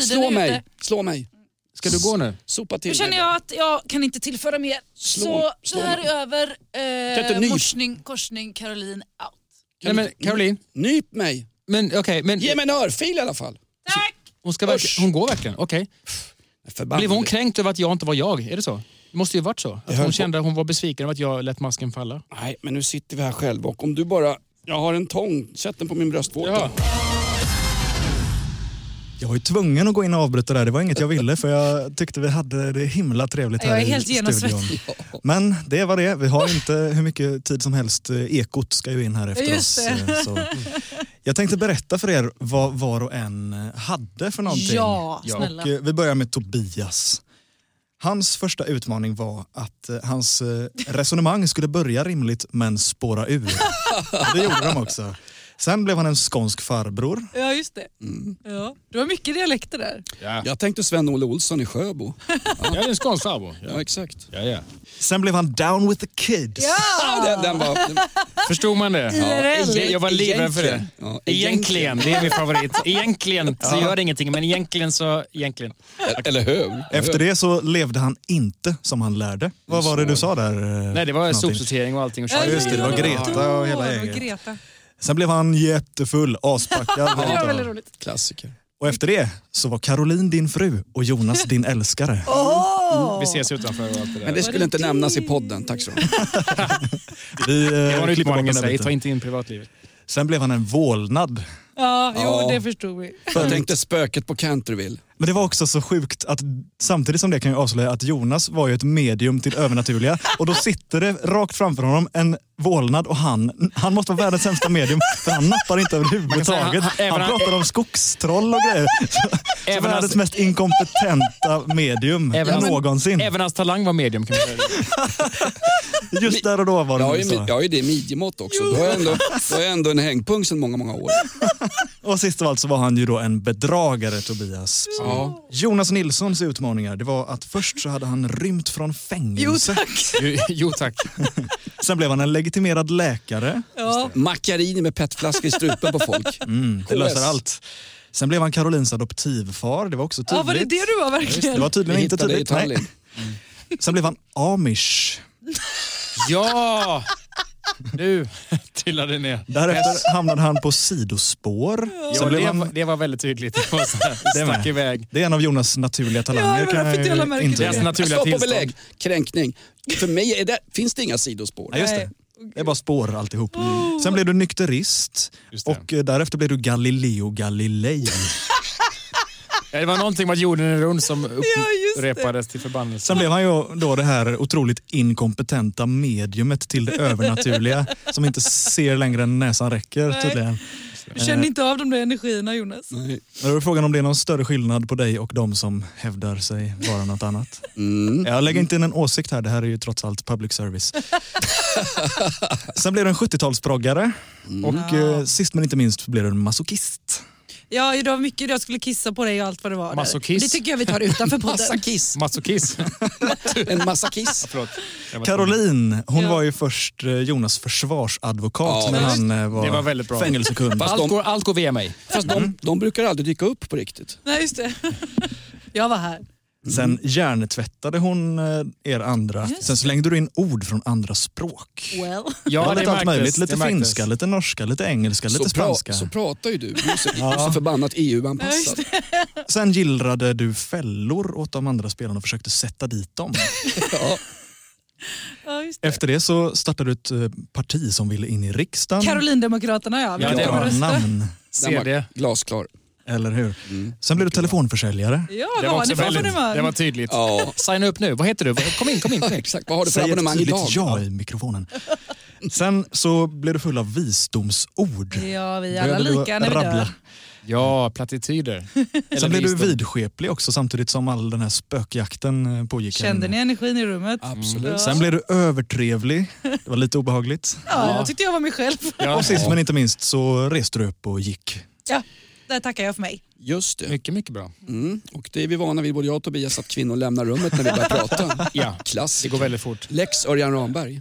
Speaker 7: är
Speaker 5: Slå
Speaker 7: ute.
Speaker 5: mig, slå mig.
Speaker 6: Ska du gå nu?
Speaker 5: Sopa till
Speaker 7: Nu känner
Speaker 5: mig.
Speaker 7: jag att jag kan inte tillföra mer.
Speaker 5: Slå-
Speaker 7: så
Speaker 5: slå
Speaker 7: det här
Speaker 5: mig.
Speaker 7: är över.
Speaker 5: Kan
Speaker 7: Eh,
Speaker 5: inte nyp-
Speaker 7: morsning, korsning, Caroline out.
Speaker 6: Nej, men Caroline.
Speaker 5: Nyp mig.
Speaker 6: Men, okej, men,
Speaker 5: Ge mig en örfil i alla fall.
Speaker 6: Hon, ska verkligen- hon går verkligen? Okej. Blev hon kränkt över att jag inte var jag? Är det så? Det måste ju varit så. Att hon kände att hon var besviken över att jag lät masken falla.
Speaker 5: Nej, men nu sitter vi här själva och om du bara... Jag har en tång, sätt den på min bröstvårta.
Speaker 4: Jag var ju tvungen att gå in och avbryta där. Det var inget jag ville för jag tyckte vi hade det himla trevligt här
Speaker 7: Jag är
Speaker 4: i
Speaker 7: helt
Speaker 4: studion.
Speaker 7: genomsvettig.
Speaker 4: Men det var det. Vi har inte hur mycket tid som helst. Ekot ska ju in här efter
Speaker 7: Just
Speaker 4: oss.
Speaker 7: det.
Speaker 4: eh, Så. Jag tänkte berätta för er vad var och en hade för någonting.
Speaker 7: Ja, snälla.
Speaker 4: Och eh, vi börjar med Tobias. Hans första utmaning var att eh, hans eh, resonemang skulle börja rimligt men spåra ur. Det gjorde de också. Sen blev han en skånsk farbror.
Speaker 7: Ja, just det.
Speaker 4: Mm.
Speaker 7: Ja. Du har mycket dialekter där.
Speaker 5: Jag tänkte Sven-Olle Olsson i Sjöbo.
Speaker 6: Jag är en skånsk farbror.
Speaker 5: Ja,
Speaker 7: [LAUGHS]
Speaker 5: exakt.
Speaker 6: Ja, ja.
Speaker 4: Sen blev han down with the kids.
Speaker 5: Ja,
Speaker 7: Ah!
Speaker 5: den, den var... Den,
Speaker 6: Förstod man det?
Speaker 5: IRL.
Speaker 6: Ja, jag var livrädd för det.
Speaker 5: Ja,
Speaker 6: Egentligen,
Speaker 5: egentligen.
Speaker 6: det är min [LAUGHS] favorit. Egentligen så gör det ingenting, men egentligen så... Egentligen.
Speaker 5: eller hur?
Speaker 4: Efter det så levde han inte som han lärde. Vad var det du sa där? eh,
Speaker 6: Nej, det var
Speaker 4: någonting?
Speaker 6: sopsortering och allting. Och
Speaker 4: Ja, just det, det var Greta och hela
Speaker 7: Åh,
Speaker 4: gänget.
Speaker 7: Greta.
Speaker 4: Sen blev han jättefull,
Speaker 7: [LAUGHS]
Speaker 4: aspackad.
Speaker 7: Det var väldigt roligt.
Speaker 5: Klassiker.
Speaker 4: och efter det så var Caroline din fru och Jonas din
Speaker 7: [LAUGHS]
Speaker 4: älskare.
Speaker 6: Vi ses utanför och allt det där.
Speaker 5: Men det skulle inte nämnas i podden, tack så mycket.
Speaker 4: Vi, eh,
Speaker 6: Det var en
Speaker 4: klipper bort
Speaker 6: utmaning i
Speaker 4: den här
Speaker 6: sig,
Speaker 4: biten.
Speaker 6: ta inte in privatlivet.
Speaker 4: Sen blev han en vålnad.
Speaker 7: Ja, jo,
Speaker 5: Ja.
Speaker 7: det förstod
Speaker 4: [LAUGHS]
Speaker 7: vi.
Speaker 5: Jag tänkte spöket på Canterville.
Speaker 4: Men det var också så sjukt att samtidigt som det kan jag avslöja att Jonas var ju ett medium till det övernaturliga och då sitter det rakt framför honom en vålnad och han, han måste vara världens sämsta medium för han nappar inte överhuvudtaget.
Speaker 6: Man kan säga,
Speaker 4: Han
Speaker 6: han- även-
Speaker 4: pratar om skogstroll och grejer. Så, så
Speaker 6: Även
Speaker 4: världens
Speaker 6: hans-
Speaker 4: mest inkompetenta medium
Speaker 6: Även hans-
Speaker 4: någonsin.
Speaker 6: Även hans talang var medium kan man säga.
Speaker 4: Just där och då var
Speaker 5: Jag har
Speaker 4: det
Speaker 5: ju,
Speaker 4: nog så.
Speaker 5: jag har ju det i midjemått också. Då har jag ändå, då har jag ändå en hängpunkt sedan många, många år.
Speaker 4: Och sist av allt så var han ju då en bedragare, Tobias.
Speaker 5: Ja.
Speaker 4: Jonas Nilssons utmaningar det var att först så hade han rymt från fängelse.
Speaker 6: [LAUGHS] Jo, Jo tack.
Speaker 4: [LAUGHS] Sen blev han en legitimerad läkare.
Speaker 7: Ja.
Speaker 5: Macchiarini med petflaskor i strupen på folk.
Speaker 4: [LAUGHS] Mm, det
Speaker 5: KS.
Speaker 4: löser allt. Sen blev han Carolins adoptivfar. Det var också tydligt.
Speaker 7: ja, var det det du var
Speaker 4: Det
Speaker 7: verkligen?
Speaker 4: var tydligen
Speaker 5: Vi
Speaker 4: inte typ
Speaker 5: hittade
Speaker 4: tydligt.
Speaker 5: i Tallinn.
Speaker 4: nej. Sen blev han amish.
Speaker 6: Ja! Nu trillade det ner.
Speaker 4: Därefter hamnade han på sidospår.
Speaker 6: Ja,
Speaker 4: Sen blev
Speaker 6: det,
Speaker 4: han,
Speaker 6: var, det var väldigt tydligt. [LAUGHS] Det var så här,
Speaker 4: Det
Speaker 6: Stack
Speaker 4: med.
Speaker 6: iväg.
Speaker 4: det är en av Jonas naturliga
Speaker 7: Ja,
Speaker 4: talanger.
Speaker 7: det var
Speaker 4: kan
Speaker 7: därför inte jag lade
Speaker 4: jag
Speaker 7: märke
Speaker 4: inte
Speaker 7: till
Speaker 6: Deras
Speaker 7: det.
Speaker 6: naturliga
Speaker 5: Stopp och
Speaker 6: tillstånd.
Speaker 5: belägg, kränkning. För mig är det, finns det inga sidospår.
Speaker 4: Ja, just det. Det är bara spår alltihop. Sen blev du nykterist
Speaker 6: Mm. Just det.
Speaker 4: och eh, därefter blev du Galileo Galilei.
Speaker 6: Ja, det var någonting med att jorden är rund som
Speaker 7: just det.
Speaker 6: upprepades till förbannelse.
Speaker 4: Sen blev han ju då det här otroligt inkompetenta mediumet till det övernaturliga som inte ser längre än näsan räcker
Speaker 7: Nej.
Speaker 4: tydligen.
Speaker 7: Du kände inte av de där energierna Jonas.
Speaker 5: Nej.
Speaker 4: Men Då är frågan om det är någon större skillnad på dig och de som hävdar sig vara något annat.
Speaker 5: Mm.
Speaker 4: Jag lägger inte in en åsikt här, det här är ju trots allt public service. Sen blev du en 70-talsproggare och eh, sist men inte minst blev du en masochist.
Speaker 7: Ja, det var mycket jag skulle kissa på dig och allt vad det var. där.
Speaker 6: Masochist.
Speaker 7: Det tycker jag vi
Speaker 4: [LAUGHS]
Speaker 7: tar utanför podden.
Speaker 5: Massakiss.
Speaker 6: [LAUGHS] Masochist.
Speaker 5: En
Speaker 4: [LAUGHS]
Speaker 5: massakiss.
Speaker 6: Förlåt. Jag var tvungen.
Speaker 4: Caroline, hon
Speaker 7: Ja.
Speaker 4: var ju först eh, Jonas försvarsadvokat
Speaker 5: Ja,
Speaker 4: när
Speaker 5: visst.
Speaker 4: han eh, var,
Speaker 6: Det var väldigt bra.
Speaker 4: fängelsekund.
Speaker 5: Fast
Speaker 6: Allt
Speaker 5: de,
Speaker 6: går, allt går via mig.
Speaker 5: fast
Speaker 4: Mm.
Speaker 5: de, de brukar aldrig dyka upp på riktigt.
Speaker 7: Nej, just det. [LAUGHS] Jag var här.
Speaker 4: Sen hjärntvättade hon eh, er andra.
Speaker 7: Just
Speaker 4: Sen slängde du in ord från andra språk.
Speaker 7: Well.
Speaker 4: Ja,
Speaker 6: Ja,
Speaker 4: lite allt möjligt.
Speaker 6: märktes.
Speaker 4: Lite
Speaker 6: Det märktes.
Speaker 4: finska, lite norska, lite engelska, lite
Speaker 5: så,
Speaker 4: spanska.
Speaker 5: så pratar ju du. Du är så, du är så förbannat EU-anpassad.
Speaker 4: Sen gillrade du fällor åt de andra spelarna och försökte sätta dit dem.
Speaker 5: [LAUGHS] Ja.
Speaker 7: Ja, just det.
Speaker 4: Efter det så startade du ett eh, parti som ville in i riksdagen.
Speaker 7: Karolindemokraterna ja.
Speaker 4: Ja,
Speaker 7: vi
Speaker 4: det
Speaker 7: kan
Speaker 4: var
Speaker 7: rösta.
Speaker 4: namn.
Speaker 5: Den var glasklar.
Speaker 4: Eller hur? Sen blev du telefonförsäljare.
Speaker 7: Ja,
Speaker 6: Det
Speaker 7: vad
Speaker 6: var
Speaker 7: har
Speaker 6: också
Speaker 7: ni för
Speaker 6: väldigt-
Speaker 7: abonnemang?
Speaker 6: det var tydligt.
Speaker 5: Ja.
Speaker 6: Signa upp nu. Vad heter du? Kom in,
Speaker 5: [LAUGHS]
Speaker 6: kom in. Kom in.
Speaker 5: Exakt. Vad har du för
Speaker 4: Säg ett
Speaker 5: abonnemang
Speaker 4: tydligt
Speaker 5: idag?
Speaker 4: ja i
Speaker 7: [LAUGHS]
Speaker 4: mikrofonen. Sen så blev du full av visdomsord.
Speaker 7: Ja, vi är alla
Speaker 4: Började du
Speaker 7: lika när vi
Speaker 4: rabbla.
Speaker 7: dör.
Speaker 6: Ja, plattityder.
Speaker 4: Sen blev du
Speaker 6: visdom.
Speaker 4: vidskeplig också samtidigt som all den här spökjakten eh, pågick.
Speaker 7: Kände ni energin i rummet?
Speaker 4: Mm.
Speaker 7: Ja.
Speaker 4: Sen blev du övertrevlig. Det var lite obehagligt.
Speaker 7: Ja, jag tyckte jag var mig själv.
Speaker 4: Och sist men inte minst så reste du upp och gick.
Speaker 7: Ja, där tackar jag för mig.
Speaker 5: Just det.
Speaker 6: Mycket, mycket bra.
Speaker 5: Mm. Och det är vi vana vid, både jag och Tobias, att kvinnor lämnar rummet när vi
Speaker 4: [LAUGHS]
Speaker 5: börjar prata.
Speaker 6: Ja,
Speaker 5: Klass.
Speaker 6: det går väldigt fort.
Speaker 5: Lex Örjan Ramberg.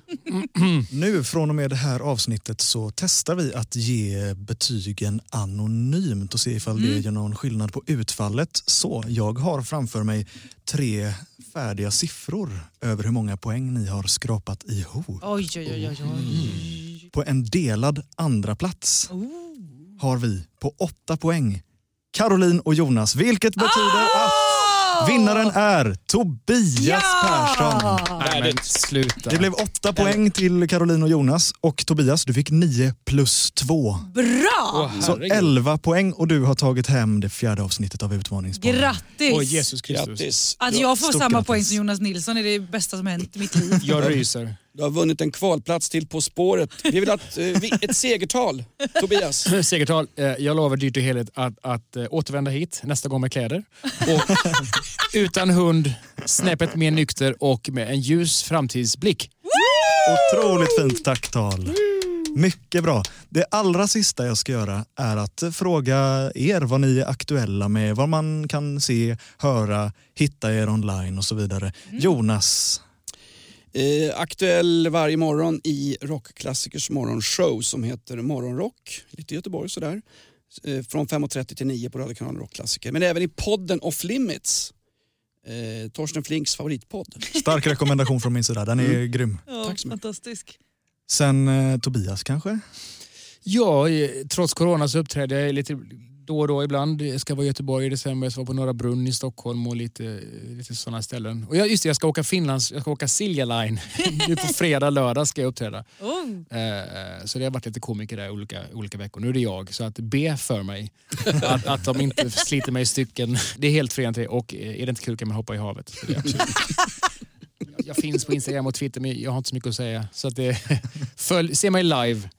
Speaker 4: Nu från och med det här avsnittet så testar vi att ge betygen anonymt och se ifall det
Speaker 7: Mm.
Speaker 4: gör någon skillnad på utfallet. Så jag har framför mig tre färdiga siffror över hur många poäng ni har skrapat ihop.
Speaker 7: Oj, oj, oj. oj, oj.
Speaker 4: På en delad andra plats har vi på åtta poäng Caroline och Jonas, vilket betyder
Speaker 7: Ah!
Speaker 4: att vinnaren är Tobias Persson.
Speaker 6: Nej, men sluta.
Speaker 4: Det blev åtta poäng till Caroline och Jonas och Tobias, du fick nio plus två.
Speaker 7: Bra!
Speaker 4: Så elva poäng och du har tagit hem det fjärde avsnittet av Utmaningspodden.
Speaker 7: Grattis!
Speaker 6: Åh, Jesus Kristus.
Speaker 7: Att jag får
Speaker 4: Stort
Speaker 7: samma
Speaker 4: grattis.
Speaker 7: poäng som Jonas Nilsson är det bästa som hänt i mitt [LAUGHS] liv.
Speaker 6: Jag ryser. [CLEARS THROAT]
Speaker 5: Du har vunnit en kvalplats till På spåret. Vi vill ha ett, eh, vi- ett segertal, Tobias.
Speaker 6: Segertal, eh, jag lovar dyrt och heligt att, att eh, återvända hit nästa gång med kläder. Och [LAUGHS] utan hund, snäppet mer nykter och med en ljus framtidsblick.
Speaker 4: Otroligt fint tacktal. Mycket bra. Det allra sista jag ska göra är att fråga er vad ni är aktuella med, vad man kan se, höra, hitta er online och så vidare. Jonas,
Speaker 5: Eh, aktuell varje morgon i Rockklassikers morgonshow som heter Morgonrock. Lite i Göteborg sådär. Eh, från 5.30 till 9 på radiokanalen Rockklassiker. Men även i podden Off Limits. Eh, Torsten Flinks favoritpodd.
Speaker 4: stark rekommendation från min sida. Den är grym.
Speaker 7: Ja, Tack så mycket. Fantastisk.
Speaker 4: Sen eh, Tobias kanske?
Speaker 6: Ja, eh, trots corona så uppträder jag lite då och då ibland. Jag ska vara i Göteborg i december, jag ska vara på Norra Brunn i Stockholm och lite, eh, lite sådana ställen. Och jag, just det, jag ska åka Finlands, jag ska åka Silja Line. [LAUGHS] nu på fredag, lördag ska jag uppträda.
Speaker 7: Oh.
Speaker 6: Eh, Så det har varit lite komiker där olika, olika veckor. Nu är det jag, så att be för [LAUGHS] mig. Att, att de inte sliter mig i stycken. Det är helt fri till och eh, är det inte kul kan man hoppa i havet. Så det är absolut. Jag, jag finns på Instagram och Twitter men jag har inte så mycket att säga. Så att det, [LAUGHS] följ, se mig live.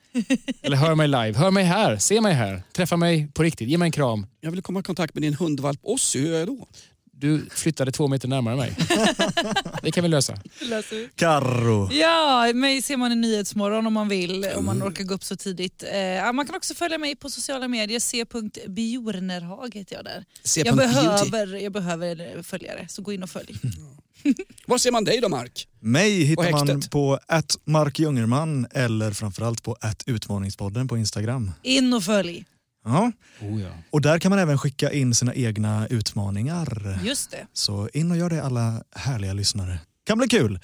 Speaker 6: Eller hör mig live. Hör mig här, se mig här. Träffa mig på riktigt, ge mig en kram.
Speaker 5: Jag vill komma i kontakt med din hundvalp Ossi, hur gör jag då?
Speaker 6: Du flyttade två meter närmare mig. Det kan vi lösa.
Speaker 7: Läser vi.
Speaker 4: Karro.
Speaker 7: Ja, mig ser man i Nyhetsmorgon om man vill, om man orkar gå upp så tidigt. Eh, ja, man kan också följa mig på sociala medier, c.bjornerhag heter jag där.
Speaker 5: C.
Speaker 7: Jag
Speaker 5: Beauty.
Speaker 7: behöver, jag behöver följare, så gå in och följ. [LAUGHS]
Speaker 5: Var ser man dig då Mark?
Speaker 4: Mig hittar
Speaker 5: Och
Speaker 4: man
Speaker 5: häktet.
Speaker 4: på att Mark Jungerman eller framförallt på att Utmaningspodden på Instagram.
Speaker 7: In och följ,
Speaker 4: Ja.
Speaker 6: Oh, ja.
Speaker 4: Och där kan man även skicka in sina egna utmaningar.
Speaker 7: just det.
Speaker 4: Så in och gör det alla härliga lyssnare. Kan bli kul.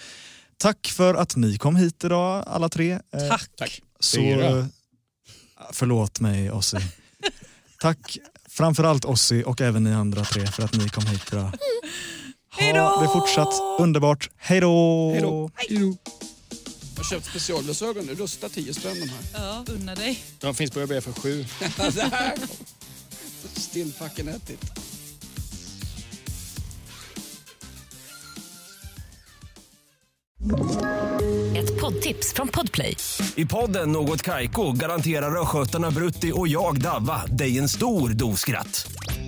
Speaker 4: Tack för att ni kom hit idag alla tre. Eh,
Speaker 7: Tack.
Speaker 4: Så,
Speaker 6: Fyra.
Speaker 4: Förlåt mig
Speaker 5: [LAUGHS]
Speaker 4: Ossi. Tack framförallt Ossi och även ni andra tre för att ni kom hit idag. Ha det fortsatt underbart. Hej då!
Speaker 5: Hej då. Jag har köpt specialglasögon nu, rusta 10 spänn de här.
Speaker 7: Ja, unna dig.
Speaker 6: De finns på ÖB för sju.
Speaker 5: Det här- Still fucking at it.
Speaker 12: Ett poddtips från Podplay.
Speaker 13: I podden Något Kaiko garanterar östgötarna Brutti och jag, Davva, dig en stor dos skratt.